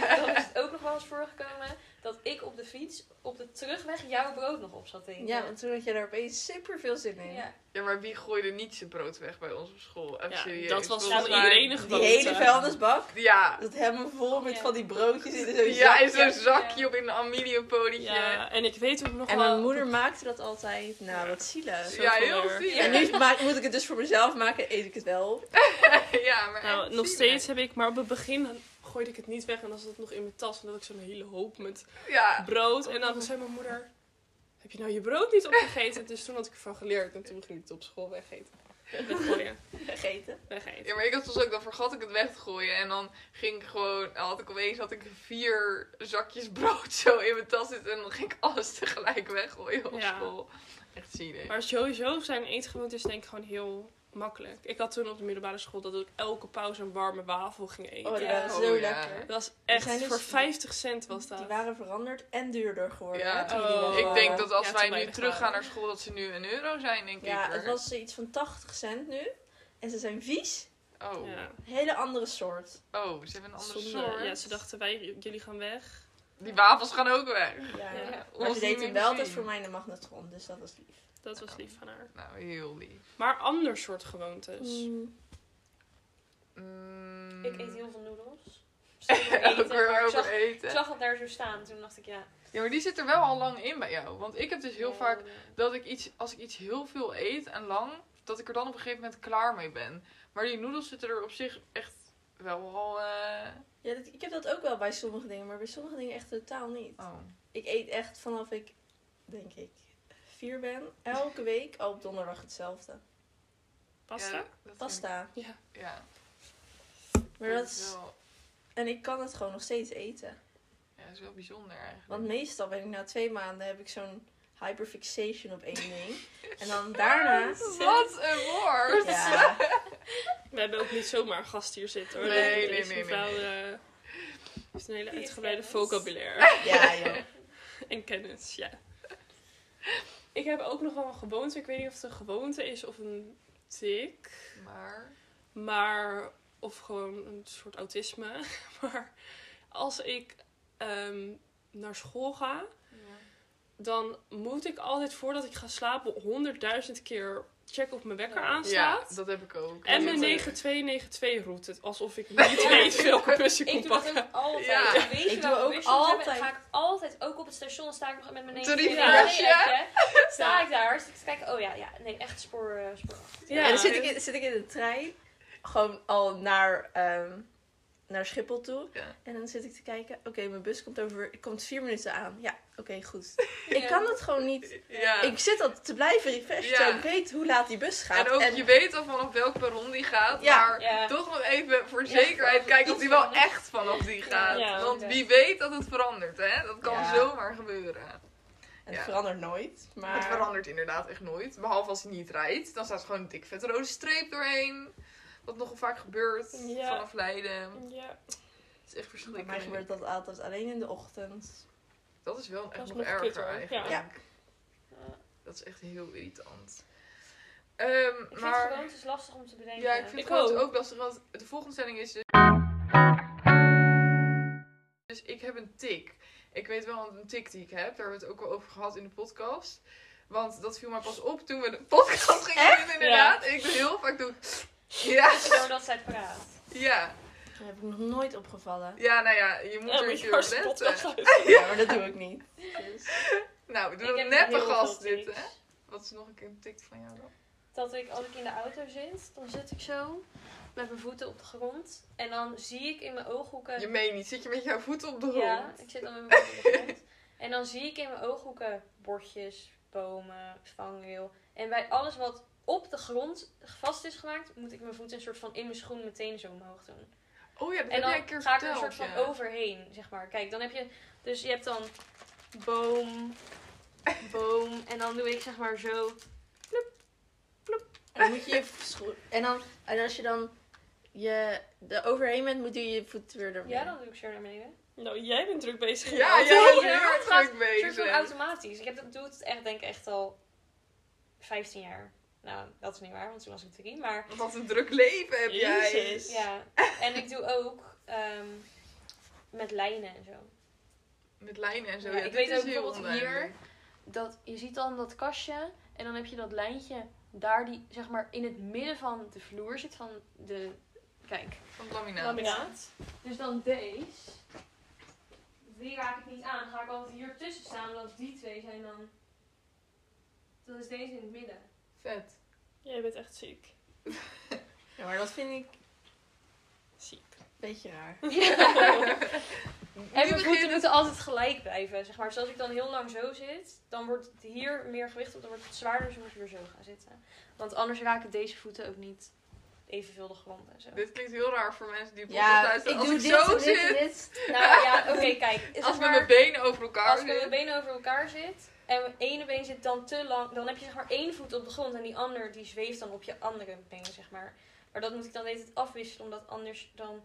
Speaker 2: En dan is het ook nog wel eens voorgekomen dat ik op de fiets op de terugweg jouw brood nog op zat eten.
Speaker 3: Ja, want toen had je daar opeens super veel zin in.
Speaker 2: Ja.
Speaker 4: Ja, maar wie gooide niet zijn brood weg bij ons op school? Even
Speaker 5: Ja,
Speaker 4: serieus.
Speaker 5: dat was
Speaker 4: Volgens
Speaker 5: voor
Speaker 4: mij-
Speaker 5: iedereen
Speaker 3: Die
Speaker 5: een gewoonte.
Speaker 3: hele vuilnisbak,
Speaker 4: Ja.
Speaker 3: dat helemaal vol met
Speaker 2: Ja.
Speaker 3: van die broodjes in zo'n
Speaker 4: Ja,
Speaker 3: zak.
Speaker 4: in zo'n
Speaker 2: zakje.
Speaker 4: zakje op in een aluminiumpolietje. Ja,
Speaker 5: Ja, en ik weet ook nog
Speaker 3: En
Speaker 5: wel...
Speaker 3: mijn moeder maakte dat altijd. Nou, wat zielig.
Speaker 5: Zo van
Speaker 4: heel
Speaker 5: er.
Speaker 4: zielig.
Speaker 3: En nu maak- moet ik het dus voor mezelf maken, eet ik het wel.
Speaker 4: Ja, maar
Speaker 5: Nou,
Speaker 4: echt
Speaker 5: nog
Speaker 4: zielig.
Speaker 5: steeds heb ik, maar op het begin gooide ik het niet weg en dan zat het nog in mijn tas. En dan had ik zo'n hele hoop met
Speaker 4: Ja.
Speaker 5: brood. En dan zei mijn moeder, heb je nou je brood niet opgegeten? Dus toen had ik ervan geleerd en toen ging ik het op school wegeten. Weggooien,
Speaker 3: Gegeten.
Speaker 5: wegeten.
Speaker 4: Ja, maar ik had soms ook, dan vergat ik het weg te gooien. En dan ging ik gewoon, had ik opeens had ik vier zakjes brood zo in mijn tas zitten. En dan ging ik alles tegelijk weggooien op
Speaker 5: Ja.
Speaker 4: school. Echt zielig.
Speaker 5: Maar sowieso zijn eetgewoontes denk ik gewoon heel makkelijk. Ik had toen op de middelbare school dat ik elke pauze een warme wafel ging eten.
Speaker 3: Oh, dat
Speaker 2: Ja.
Speaker 3: was
Speaker 4: Oh,
Speaker 3: zo
Speaker 4: ja.
Speaker 3: lekker.
Speaker 5: Dat was echt,
Speaker 3: zijn dus-
Speaker 5: voor 50 cent was dat.
Speaker 3: Die waren veranderd en duurder geworden.
Speaker 4: Ja.
Speaker 3: hè, toen die
Speaker 5: Oh.
Speaker 3: weg
Speaker 4: Ik denk dat als
Speaker 5: Ja, te
Speaker 4: wij nu
Speaker 5: weinig
Speaker 4: terug gaan
Speaker 5: waren.
Speaker 4: naar school, dat ze nu een euro zijn, denk
Speaker 3: Ja,
Speaker 4: ik.
Speaker 3: het was iets van 80 cent nu. En ze zijn vies.
Speaker 4: Oh.
Speaker 5: Ja.
Speaker 3: Een hele andere soort.
Speaker 4: oh, ze hebben een andere
Speaker 5: Zonde.
Speaker 4: soort.
Speaker 5: Ja, ze dachten wij, jullie gaan weg.
Speaker 4: Die wafels gaan ook weg.
Speaker 3: Ja.
Speaker 5: Ja.
Speaker 3: Maar
Speaker 4: Ons
Speaker 3: ze
Speaker 4: niet
Speaker 3: deed
Speaker 4: meer
Speaker 3: toen wel altijd
Speaker 4: gezien.
Speaker 3: voor mij in de magnetron, dus dat was lief.
Speaker 5: Dat was lief van haar.
Speaker 4: Nou, heel lief.
Speaker 5: Maar ander soort
Speaker 4: Dus.
Speaker 5: gewoontes.
Speaker 4: Mm.
Speaker 2: Ik eet heel veel noedels. Steeds over eten,
Speaker 4: Ook weer
Speaker 2: maar ik,
Speaker 4: over
Speaker 2: zag, ik
Speaker 4: eten.
Speaker 2: zag het daar zo staan. Toen dacht ik, ja.
Speaker 4: Ja, maar die zit er wel al lang in bij jou. Want ik heb dus heel
Speaker 2: eh,
Speaker 4: vaak dat ik iets, als ik iets heel veel eet en lang, dat ik er dan op een gegeven moment klaar mee ben. Maar die noedels zitten er op zich echt wel al. eh,
Speaker 3: Ja, dat, ik heb dat ook wel bij sommige dingen, maar bij sommige dingen echt totaal niet.
Speaker 4: Oh.
Speaker 3: Ik eet echt vanaf ik, denk ik, vier ben, elke week al op donderdag hetzelfde.
Speaker 5: Pasta?
Speaker 4: Ja, dat
Speaker 3: Pasta.
Speaker 4: vind ik- ja.
Speaker 3: Maar
Speaker 4: dat
Speaker 3: dat
Speaker 4: is
Speaker 3: is-
Speaker 4: wel,
Speaker 3: en ik kan het gewoon nog steeds eten.
Speaker 4: ja, dat is wel bijzonder eigenlijk.
Speaker 3: Want meestal ben ik na twee maanden, heb ik zo'n hyperfixation op één ding. En dan daarna...
Speaker 4: Wat een woord!
Speaker 3: Ja,
Speaker 5: We hebben ook niet zomaar een gast hier zitten hoor.
Speaker 4: Nee, nee,
Speaker 5: Deze
Speaker 4: nee, nee,
Speaker 5: mevrouw eh, heeft een hele
Speaker 2: Die is
Speaker 5: uitgebreide
Speaker 2: kennis.
Speaker 5: vocabulaire
Speaker 3: ja joh.
Speaker 5: en kennis, ja. Ik heb ook nog wel een gewoonte. Ik weet niet of het een gewoonte is of een tik,
Speaker 4: Maar.
Speaker 5: maar of gewoon een soort autisme. Maar als ik ehm, naar school ga, dan moet ik altijd voordat ik ga slapen honderdduizend keer checken of mijn wekker
Speaker 2: Ja.
Speaker 5: aanstaat.
Speaker 4: Ja, dat heb ik ook.
Speaker 5: En mijn
Speaker 4: Dat-
Speaker 5: 9292 route. Alsof ik niet weet welke bus ik
Speaker 2: Ik
Speaker 5: moet
Speaker 2: doe dat
Speaker 5: pakken.
Speaker 2: ook altijd.
Speaker 4: Ja.
Speaker 2: Ik Weet je
Speaker 3: Ik
Speaker 2: welke
Speaker 3: doe ook
Speaker 2: busjes hebben?
Speaker 3: altijd.
Speaker 2: Ga ik altijd, ook op het station sta ik nog met mijn neus
Speaker 4: Te die
Speaker 2: in
Speaker 4: flesje.
Speaker 2: het Sta ik daar, zit ik te kijken, oh ja, ja, nee, echt spoor, eh, spoor acht.
Speaker 3: Ja, dus dan zit ik, in, zit ik in de trein, gewoon al naar, ehm, naar Schiphol toe.
Speaker 4: Ja.
Speaker 3: En dan zit ik te kijken, oké, mijn bus komt over komt vier minuten aan. Ja, oké, goed.
Speaker 2: Ja.
Speaker 3: Ik kan dat gewoon niet.
Speaker 4: Ja.
Speaker 3: Ik zit al te blijven refreshen,
Speaker 4: Ja.
Speaker 3: terwijl ik weet hoe laat die bus gaat.
Speaker 4: En ook, je weet al vanaf welk perron die gaat,
Speaker 3: Ja.
Speaker 4: maar
Speaker 2: Ja.
Speaker 4: toch nog even voor
Speaker 2: Ja,
Speaker 4: zekerheid
Speaker 2: vooral
Speaker 4: kijken of
Speaker 2: iets
Speaker 4: die wel
Speaker 2: verandert.
Speaker 4: echt vanaf die gaat.
Speaker 5: Ja.
Speaker 4: Want wie weet dat het verandert, hè? Dat kan
Speaker 3: Ja.
Speaker 4: zomaar gebeuren.
Speaker 3: En het
Speaker 4: Ja.
Speaker 3: verandert nooit, maar...
Speaker 4: Het verandert inderdaad echt nooit. Behalve als hij niet rijdt, dan staat er gewoon een dik vet rode streep doorheen. Wat nogal vaak gebeurt
Speaker 5: Ja.
Speaker 4: vanaf Leiden.
Speaker 5: Ja,
Speaker 4: Het is echt
Speaker 3: Bij mij
Speaker 4: verschrikkelijk.
Speaker 3: gebeurt dat altijd alleen in de ochtend.
Speaker 4: Dat is wel echt
Speaker 5: is
Speaker 4: nog,
Speaker 5: nog
Speaker 4: erger
Speaker 5: kutter,
Speaker 4: eigenlijk.
Speaker 3: ja.
Speaker 2: Eh,
Speaker 4: Dat is echt heel irritant. Ehm,
Speaker 2: Ik vind het
Speaker 4: maar...
Speaker 2: gewoontes lastig om te bedenken.
Speaker 4: Ja, ik vind
Speaker 5: Ik
Speaker 4: het ook.
Speaker 5: ook.
Speaker 4: ook lastig, want de volgende stelling is dus... Dus ik heb een tik. Ik weet wel een tik die ik heb. Daar hebben we het ook al over gehad in de podcast. Want dat viel mij pas op toen we de podcast gingen doen, inderdaad. En ik doe heel vaak doe... Ja,
Speaker 2: Doordat zij praat.
Speaker 4: ja.
Speaker 3: Dat heb ik nog nooit opgevallen.
Speaker 4: Ja, nou ja, je moet
Speaker 5: Ja,
Speaker 4: er
Speaker 5: maar
Speaker 4: een
Speaker 5: je
Speaker 4: keer op
Speaker 5: was pot
Speaker 4: letten.
Speaker 5: uit.
Speaker 3: Ja, maar dat doe ik niet. Dus...
Speaker 4: Nou, we
Speaker 2: Ik
Speaker 4: doen een
Speaker 2: heb
Speaker 4: neppe
Speaker 2: heel veel
Speaker 4: gast dit,
Speaker 2: tics.
Speaker 4: hè. Wat is nog een keer een tik van jou dan?
Speaker 2: dat ik als ik in de auto zit, dan zit ik zo met mijn voeten op de grond. En dan zie ik in mijn ooghoeken.
Speaker 4: Je meen niet. Zit je met jouw voeten op de grond?
Speaker 2: ja, ik zit dan met mijn voeten op de grond. En dan zie ik in mijn ooghoeken bordjes, bomen, vangrail. En bij alles wat op de grond vast is gemaakt, moet ik mijn voeten een soort van in mijn schoen meteen zo omhoog doen.
Speaker 4: Oh ja, dat
Speaker 2: en
Speaker 4: heb jij
Speaker 2: dan
Speaker 4: een keer
Speaker 2: ga ik er een
Speaker 4: verteld.
Speaker 2: soort van
Speaker 4: ja.
Speaker 2: overheen, zeg maar. Kijk, dan heb je. Dus je hebt dan boom, boom. En dan doe ik zeg maar zo.
Speaker 3: En dan moet je je scho- En, dan, en als je dan je er overheen bent, moet je je voet weer ermee.
Speaker 2: Ja, dan doe ik zo naar beneden.
Speaker 5: Nou, jij bent druk bezig. in je
Speaker 4: Ja,
Speaker 5: auto.
Speaker 4: jij bent
Speaker 2: Oh, Ja,
Speaker 4: heel
Speaker 2: maar
Speaker 4: erg
Speaker 2: het gaat
Speaker 4: druk
Speaker 2: Een soort van
Speaker 4: bezig.
Speaker 2: automatisch. Ik heb dat doe het echt, denk ik, echt al 15 jaar. Nou, dat is niet waar, want toen was ik drie. Maar
Speaker 4: Wat een druk leven heb jij.
Speaker 5: Jezus.
Speaker 2: ja. En ik doe ook ehm, met lijnen en zo.
Speaker 4: Met lijnen en zo.
Speaker 2: Ja,
Speaker 4: Ja,
Speaker 2: ik
Speaker 4: dit
Speaker 2: weet
Speaker 4: is
Speaker 2: ook
Speaker 4: heel
Speaker 2: bijvoorbeeld hier-
Speaker 4: onduidelijk.
Speaker 1: Dat, je ziet dan dat kastje en dan heb je dat lijntje daar die zeg maar in het midden van de vloer zit van de... Kijk.
Speaker 4: Van het laminaat.
Speaker 5: Laminaat.
Speaker 1: Dus dan deze.
Speaker 2: Die raak ik niet aan. Ga ik altijd hier tussen staan, want die twee zijn dan... Dat is deze in het midden.
Speaker 4: Vet.
Speaker 5: Jij bent echt ziek.
Speaker 3: Ja, maar dat vind ik
Speaker 5: Ziek.
Speaker 3: een beetje raar.
Speaker 2: En
Speaker 4: Nu
Speaker 2: mijn
Speaker 4: begint
Speaker 2: voeten
Speaker 4: het.
Speaker 2: moeten altijd gelijk blijven, zeg maar. Dus als ik dan heel lang zo zit, dan wordt het hier meer gewicht op, dan wordt het zwaarder, dus dan moet je weer zo gaan zitten. Want anders raken deze voeten ook niet evenveel de grond en zo.
Speaker 4: Dit klinkt heel raar voor mensen die podcast
Speaker 3: Ja, ik
Speaker 4: luisteren. Als
Speaker 3: doe
Speaker 4: ik
Speaker 3: dit,
Speaker 4: zo
Speaker 3: dit,
Speaker 4: zit,
Speaker 3: en dit.
Speaker 2: Nou ja, oké, kijk. Zeg
Speaker 4: als ik met
Speaker 2: maar,
Speaker 4: mijn benen over elkaar
Speaker 2: als ik met mijn
Speaker 4: zit.
Speaker 2: benen over elkaar zit en mijn ene been zit dan te lang, dan heb je zeg maar één voet op de grond en die ander die zweeft dan op je andere been, zeg maar. Maar dat moet ik dan de hele tijd afwisselen, omdat anders dan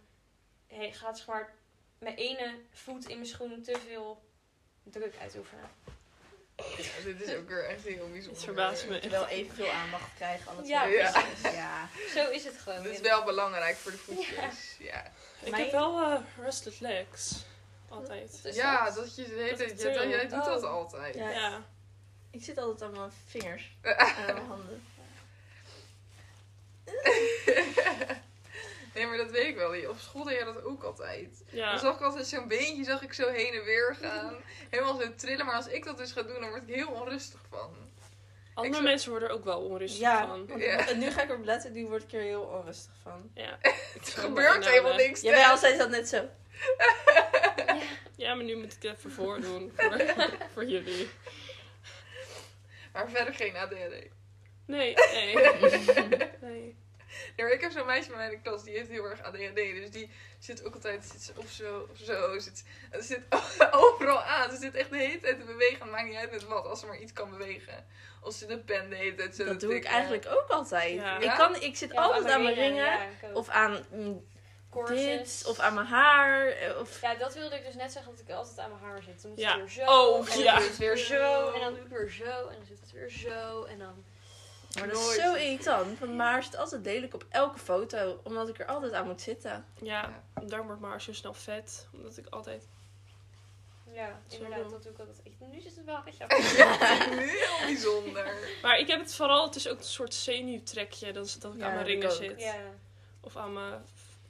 Speaker 2: he- gaat zeg maar mijn ene voet in mijn schoen te veel druk uitoefenen.
Speaker 4: Ja, dit is ook weer echt heel bijzonder.
Speaker 5: Het verbaast me.
Speaker 3: Wel evenveel aandacht krijgen. Alles
Speaker 2: Ja,
Speaker 3: wel.
Speaker 4: Ja.
Speaker 3: ja.
Speaker 2: Zo is het gewoon.
Speaker 4: Dit is wel belangrijk voor de voetjes. Ja,
Speaker 5: Ik
Speaker 3: Mijn-
Speaker 5: heb wel eh, rested legs. Altijd.
Speaker 2: Dus
Speaker 4: ja
Speaker 2: dat-
Speaker 4: dat je de hele
Speaker 5: Dat
Speaker 4: tijd-
Speaker 5: is
Speaker 4: ja, dat- jij
Speaker 5: chill.
Speaker 4: doet dat
Speaker 2: Oh.
Speaker 4: altijd.
Speaker 3: Ja.
Speaker 5: Ja.
Speaker 3: Ik zit altijd aan mijn vingers. aan mijn handen.
Speaker 4: Nee, maar dat weet ik wel. Op school deed jij dat ook altijd. Dan
Speaker 5: Ja.
Speaker 4: zag ik altijd zo'n beentje zag ik zo heen en weer gaan. Helemaal zo trillen. Maar als ik dat dus ga doen, dan word ik heel onrustig van.
Speaker 5: Andere
Speaker 4: zou-
Speaker 5: mensen worden er ook wel onrustig
Speaker 3: Ja.
Speaker 5: van.
Speaker 3: Want
Speaker 4: Ja.
Speaker 3: Dus Nu ga ik erop letten, nu word ik er heel onrustig van.
Speaker 5: Ja.
Speaker 4: Het gebeurt helemaal niks.
Speaker 3: Jij bent altijd dat net zo.
Speaker 5: Ja, maar nu moet ik het even voordoen voor, voor jullie.
Speaker 4: Maar verder geen ADHD.
Speaker 5: Nee, nee. nee.
Speaker 4: Ja, maar ik heb zo'n meisje bij mij in de klas, die heeft heel erg ADHD. Dus die zit ook altijd zit ze of zo, of zo. Zit, ze zit overal aan. Ze zit echt de hele tijd te bewegen. Het maakt niet uit met wat, als ze maar iets kan bewegen. Of ze de pen de hele tijd zo
Speaker 3: Dat
Speaker 4: te
Speaker 3: doe ik
Speaker 4: tikken.
Speaker 3: eigenlijk ook altijd.
Speaker 5: Ja.
Speaker 3: Ik, kan, ik zit
Speaker 2: Ja,
Speaker 3: altijd aan mijn ringen.
Speaker 2: ja, ik ook.
Speaker 3: Of aan mm,
Speaker 2: Corsets.
Speaker 3: dit, of aan mijn haar. eh, Of...
Speaker 2: Ja, dat wilde ik dus net zeggen, dat ik altijd aan mijn haar zit. Dan moet het
Speaker 5: Ja.
Speaker 2: weer zo.
Speaker 5: Oh,
Speaker 2: en dan
Speaker 5: ja.
Speaker 2: doe ik het weer zo. En dan doe ik weer zo. En dan zit het weer zo. En dan...
Speaker 3: Maar dat is
Speaker 4: Nooit.
Speaker 3: zo irritant, want mijn haar zit altijd lelijk op elke foto, omdat ik er altijd aan moet zitten.
Speaker 5: Ja, daarom wordt maar zo snel vet. Omdat ik altijd...
Speaker 2: Ja,
Speaker 5: Zo
Speaker 2: inderdaad,
Speaker 5: doen.
Speaker 2: dat doe ik altijd. Ik- Nu zit het wel een beetje
Speaker 4: Heel bijzonder.
Speaker 5: Maar ik heb het vooral... Het is ook een soort zenuwtrekje dat, dat ik
Speaker 3: Ja,
Speaker 5: aan mijn
Speaker 3: ik
Speaker 5: ringen
Speaker 3: ook.
Speaker 5: zit.
Speaker 2: Ja.
Speaker 5: Of aan mijn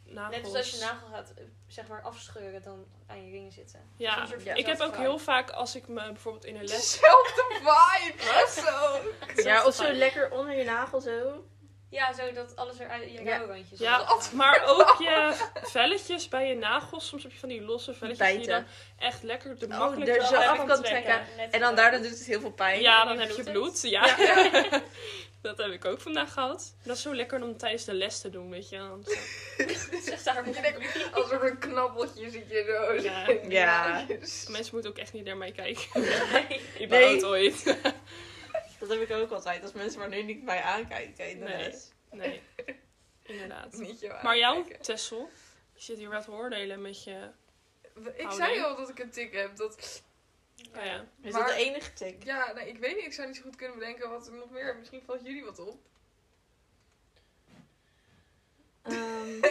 Speaker 5: nagels.
Speaker 2: Net als als je nagel gaat, eh, zeg maar, afscheuren, dan aan je ringen zitten.
Speaker 5: Ja.
Speaker 2: Zo'n soort
Speaker 3: Ja.
Speaker 5: ik heb ook
Speaker 2: zelfverhaal.
Speaker 5: heel vaak als ik me bijvoorbeeld in een les...
Speaker 4: Zelfde vibe. of Zo.
Speaker 3: Ja, of zo
Speaker 5: fijn.
Speaker 3: lekker onder je nagel zo.
Speaker 2: Ja, zo dat alles eruit, je
Speaker 3: Ja.
Speaker 2: rouwrandjes.
Speaker 5: Ja, maar ook je velletjes bij je nagels. Soms heb je van die losse velletjes die je dan
Speaker 3: Bijten.
Speaker 5: echt lekker de
Speaker 3: Oh,
Speaker 5: makkelijk
Speaker 3: er
Speaker 5: eraf
Speaker 3: zo af
Speaker 5: kan
Speaker 3: kan
Speaker 5: trekken.
Speaker 3: trekken. En dan daardoor doet het heel veel pijn.
Speaker 5: Ja,
Speaker 2: En
Speaker 5: dan
Speaker 2: nu
Speaker 5: heb je
Speaker 2: bloedt
Speaker 5: bloed. Ja. dat heb ik ook vandaag gehad. Dat is zo lekker om tijdens de les te doen, weet je. Dan zo-
Speaker 2: Zeg daar
Speaker 4: Je denkt, Als er een knabbeltje zit je zo.
Speaker 5: Ja.
Speaker 3: Ja.
Speaker 5: Mensen moeten ook echt niet naar mij kijken.
Speaker 2: Nee.
Speaker 3: Nee.
Speaker 5: Ik nee. ooit.
Speaker 3: Dat heb ik ook altijd, als mensen maar nu niet mij aankijken in de
Speaker 5: Nee.
Speaker 3: les.
Speaker 5: nee, inderdaad.
Speaker 4: Niet jou
Speaker 5: Maar jou,
Speaker 4: aankijken.
Speaker 5: Tessel, je zit hier wat te oordelen met je...
Speaker 4: Ik zei
Speaker 5: Houding.
Speaker 4: al dat ik een tik heb. Dat
Speaker 5: Oh ja.
Speaker 3: Is
Speaker 4: Maar-
Speaker 3: dat de enige tik?
Speaker 4: Ja, nou, ik weet niet. Ik zou niet zo goed kunnen bedenken wat er nog meer. Misschien valt jullie wat op.
Speaker 3: Ehm,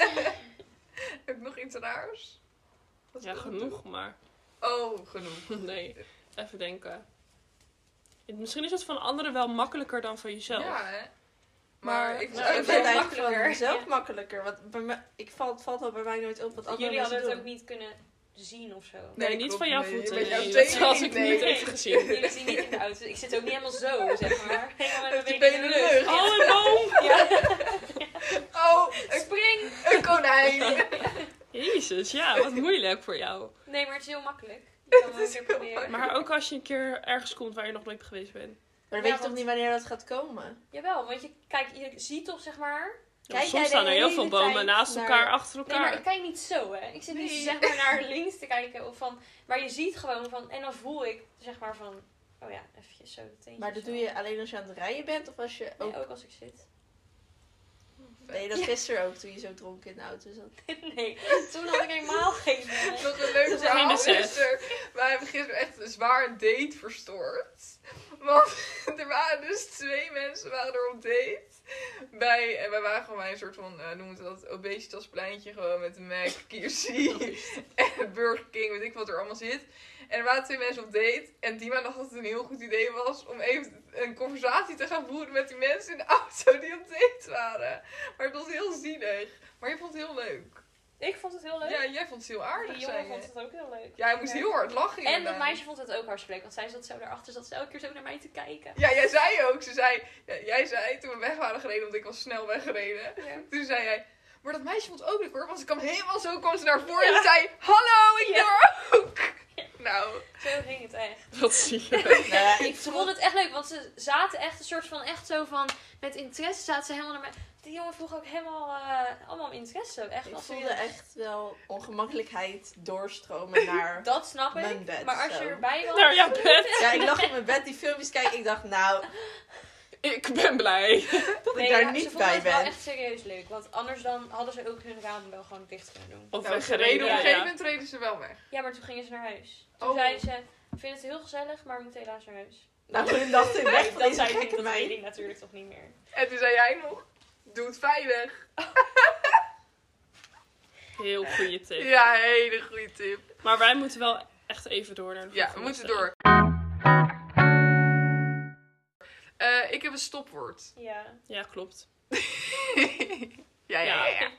Speaker 4: Heb ik nog iets raars? Wat
Speaker 5: ja,
Speaker 4: is er nog?
Speaker 5: genoeg, maar...
Speaker 4: Oh, genoeg.
Speaker 5: Nee, even denken. Misschien is het van anderen wel makkelijker dan van jezelf.
Speaker 4: Ja, hè? Maar,
Speaker 5: Maar-
Speaker 4: ik
Speaker 3: nou,
Speaker 4: zou
Speaker 3: ik vind het
Speaker 4: zeggen,
Speaker 3: eigenlijk
Speaker 2: makkelijker.
Speaker 3: van mezelf
Speaker 2: Ja.
Speaker 3: makkelijker, want bij mij, ik valt, valt al bij mij nooit op wat andere
Speaker 2: Jullie hadden
Speaker 3: mensen
Speaker 2: het
Speaker 3: doen.
Speaker 2: ook niet kunnen zien of zo.
Speaker 5: Nee,
Speaker 4: Nee,
Speaker 5: niet
Speaker 4: klopt,
Speaker 5: van jouw
Speaker 4: nee,
Speaker 5: voeten.
Speaker 4: met jouw
Speaker 5: nee, dat
Speaker 4: tenen
Speaker 5: had
Speaker 4: niet,
Speaker 5: ik
Speaker 4: nee.
Speaker 5: niet even gezien.
Speaker 2: Jullie zien niet in de auto. dus Ik zit ook niet helemaal zo, zeg maar. Helemaal met
Speaker 4: Met
Speaker 2: mijn
Speaker 4: je
Speaker 2: benen in de
Speaker 4: benen in de
Speaker 2: lucht.
Speaker 5: Oh, een boom!
Speaker 2: Ja.
Speaker 4: Oh, een,
Speaker 2: Spring!
Speaker 4: een konijn!
Speaker 5: Jezus, ja, wat moeilijk voor jou.
Speaker 2: Nee, maar het is heel makkelijk. Je kan wel een
Speaker 4: is
Speaker 2: keer
Speaker 4: heel
Speaker 2: proberen.
Speaker 5: Maar ook als je een keer ergens komt waar je nog nooit geweest bent.
Speaker 3: Maar dan
Speaker 2: Ja,
Speaker 3: weet je
Speaker 2: want-
Speaker 3: toch niet wanneer dat gaat komen?
Speaker 2: Jawel, want je, kijk, je ziet toch, zeg maar...
Speaker 5: Ja,
Speaker 3: Kijk jij
Speaker 5: soms
Speaker 3: de
Speaker 5: staan er heel
Speaker 3: hele
Speaker 5: veel bomen
Speaker 3: tijd
Speaker 5: naast
Speaker 3: naar-
Speaker 5: elkaar, achter
Speaker 2: Nee,
Speaker 5: elkaar.
Speaker 2: maar ik kijk niet zo, hè. Ik zit niet
Speaker 4: Nee.
Speaker 2: zeg maar naar links te kijken. Of van, maar je ziet gewoon van... En dan voel ik, zeg maar, van... Oh ja, eventjes zo de teentjes.
Speaker 3: Maar dat
Speaker 2: zo.
Speaker 3: doe je alleen als je aan het rijden bent of als je
Speaker 2: Nee,
Speaker 3: ook...
Speaker 2: ook als ik zit.
Speaker 3: Nee, dat gisteren ook, toen je zo dronken in de auto zat.
Speaker 2: Nee, toen had ik helemaal geen idee.
Speaker 4: Nog een leuk
Speaker 5: Dat is geen
Speaker 4: verhaal
Speaker 5: besef.
Speaker 4: gisteren. Wij hebben gisteren echt een zwaar date verstoord. Want er waren dus twee mensen waren er op date. Bij, en wij waren gewoon bij een soort van, eh noemen ze dat, obesitaspleintje gewoon met een Mac, KFC en Burger King, weet ik wat er allemaal zit. En er waren twee mensen op date en Dima dacht dat het een heel goed idee was om even een conversatie te gaan voeren met die mensen in de auto die op date waren. Maar het was heel zielig. Maar je vond het heel leuk.
Speaker 2: Ik vond het heel leuk.
Speaker 4: Ja, jij vond het heel aardig,
Speaker 2: die jongen
Speaker 4: zei je.
Speaker 2: vond het ook heel leuk.
Speaker 4: Ja, hij moest
Speaker 2: Ja.
Speaker 4: heel hard lachen
Speaker 2: En dat
Speaker 4: inderdaad.
Speaker 2: meisje vond het ook hartstikke leuk, want zij zat zo daarachter, zat ze elke keer zo naar mij te kijken.
Speaker 4: Ja, jij zei ook. Ze zei, ja, jij zei toen we weg waren gereden, want ik was snel weggereden.
Speaker 2: Ja.
Speaker 4: Toen zei jij, maar dat meisje vond het ook leuk hoor. Want ze kwam helemaal zo, kwam ze naar voren en zei, hallo, ik ben er ook. Nou,
Speaker 2: Zo ging het echt.
Speaker 5: Dat zie je.
Speaker 3: Nou ik
Speaker 2: Ze vonden het echt leuk, want ze zaten echt een soort van, echt zo van, met interesse zaten ze helemaal naar mij. Die jongen vroeg ook helemaal, eh, allemaal om interesse. Echt,
Speaker 3: Ik
Speaker 2: als
Speaker 3: voelde echt wel ongemakkelijkheid doorstromen naar...
Speaker 2: Dat snap
Speaker 3: Mijn
Speaker 2: ik.
Speaker 3: bed,
Speaker 2: maar als
Speaker 3: zo.
Speaker 2: je erbij was,
Speaker 5: Nou ja, bed.
Speaker 3: Ja, ik lag op mijn bed die filmpjes kijken. Ik dacht, nou,
Speaker 5: Ik ben blij.
Speaker 3: dat
Speaker 2: Nee,
Speaker 3: ik daar
Speaker 2: maar ze
Speaker 3: niet
Speaker 2: vonden
Speaker 3: bij
Speaker 2: het wel
Speaker 3: ben.
Speaker 2: echt serieus leuk. Want anders dan hadden ze ook hun ramen wel gewoon dicht kunnen doen.
Speaker 5: Of
Speaker 4: nou,
Speaker 5: we
Speaker 4: ze reden op een
Speaker 5: gereden.
Speaker 4: gegeven
Speaker 5: Ja.
Speaker 4: moment reden ze wel weg.
Speaker 2: Ja, maar toen gingen ze naar huis. Toen
Speaker 4: Oh.
Speaker 2: zeiden ze, ik vind het heel gezellig, maar we moeten helaas naar huis.
Speaker 3: Nou, toen dacht ik, weg van
Speaker 2: dat
Speaker 3: deze
Speaker 2: zei ik,
Speaker 3: gekke
Speaker 2: dat weet
Speaker 3: meid.
Speaker 2: ik natuurlijk toch niet meer.
Speaker 4: En toen zei jij nog, doe het veilig.
Speaker 5: Heel goede tip.
Speaker 4: Ja, hele goede tip.
Speaker 5: Maar wij moeten wel echt even door naar de
Speaker 4: Ja, we
Speaker 5: volgende
Speaker 4: moeten
Speaker 5: stelling.
Speaker 4: door. Eh, ik heb een stopwoord.
Speaker 2: Ja.
Speaker 5: Ja, klopt.
Speaker 4: ja, ja, ja, ja.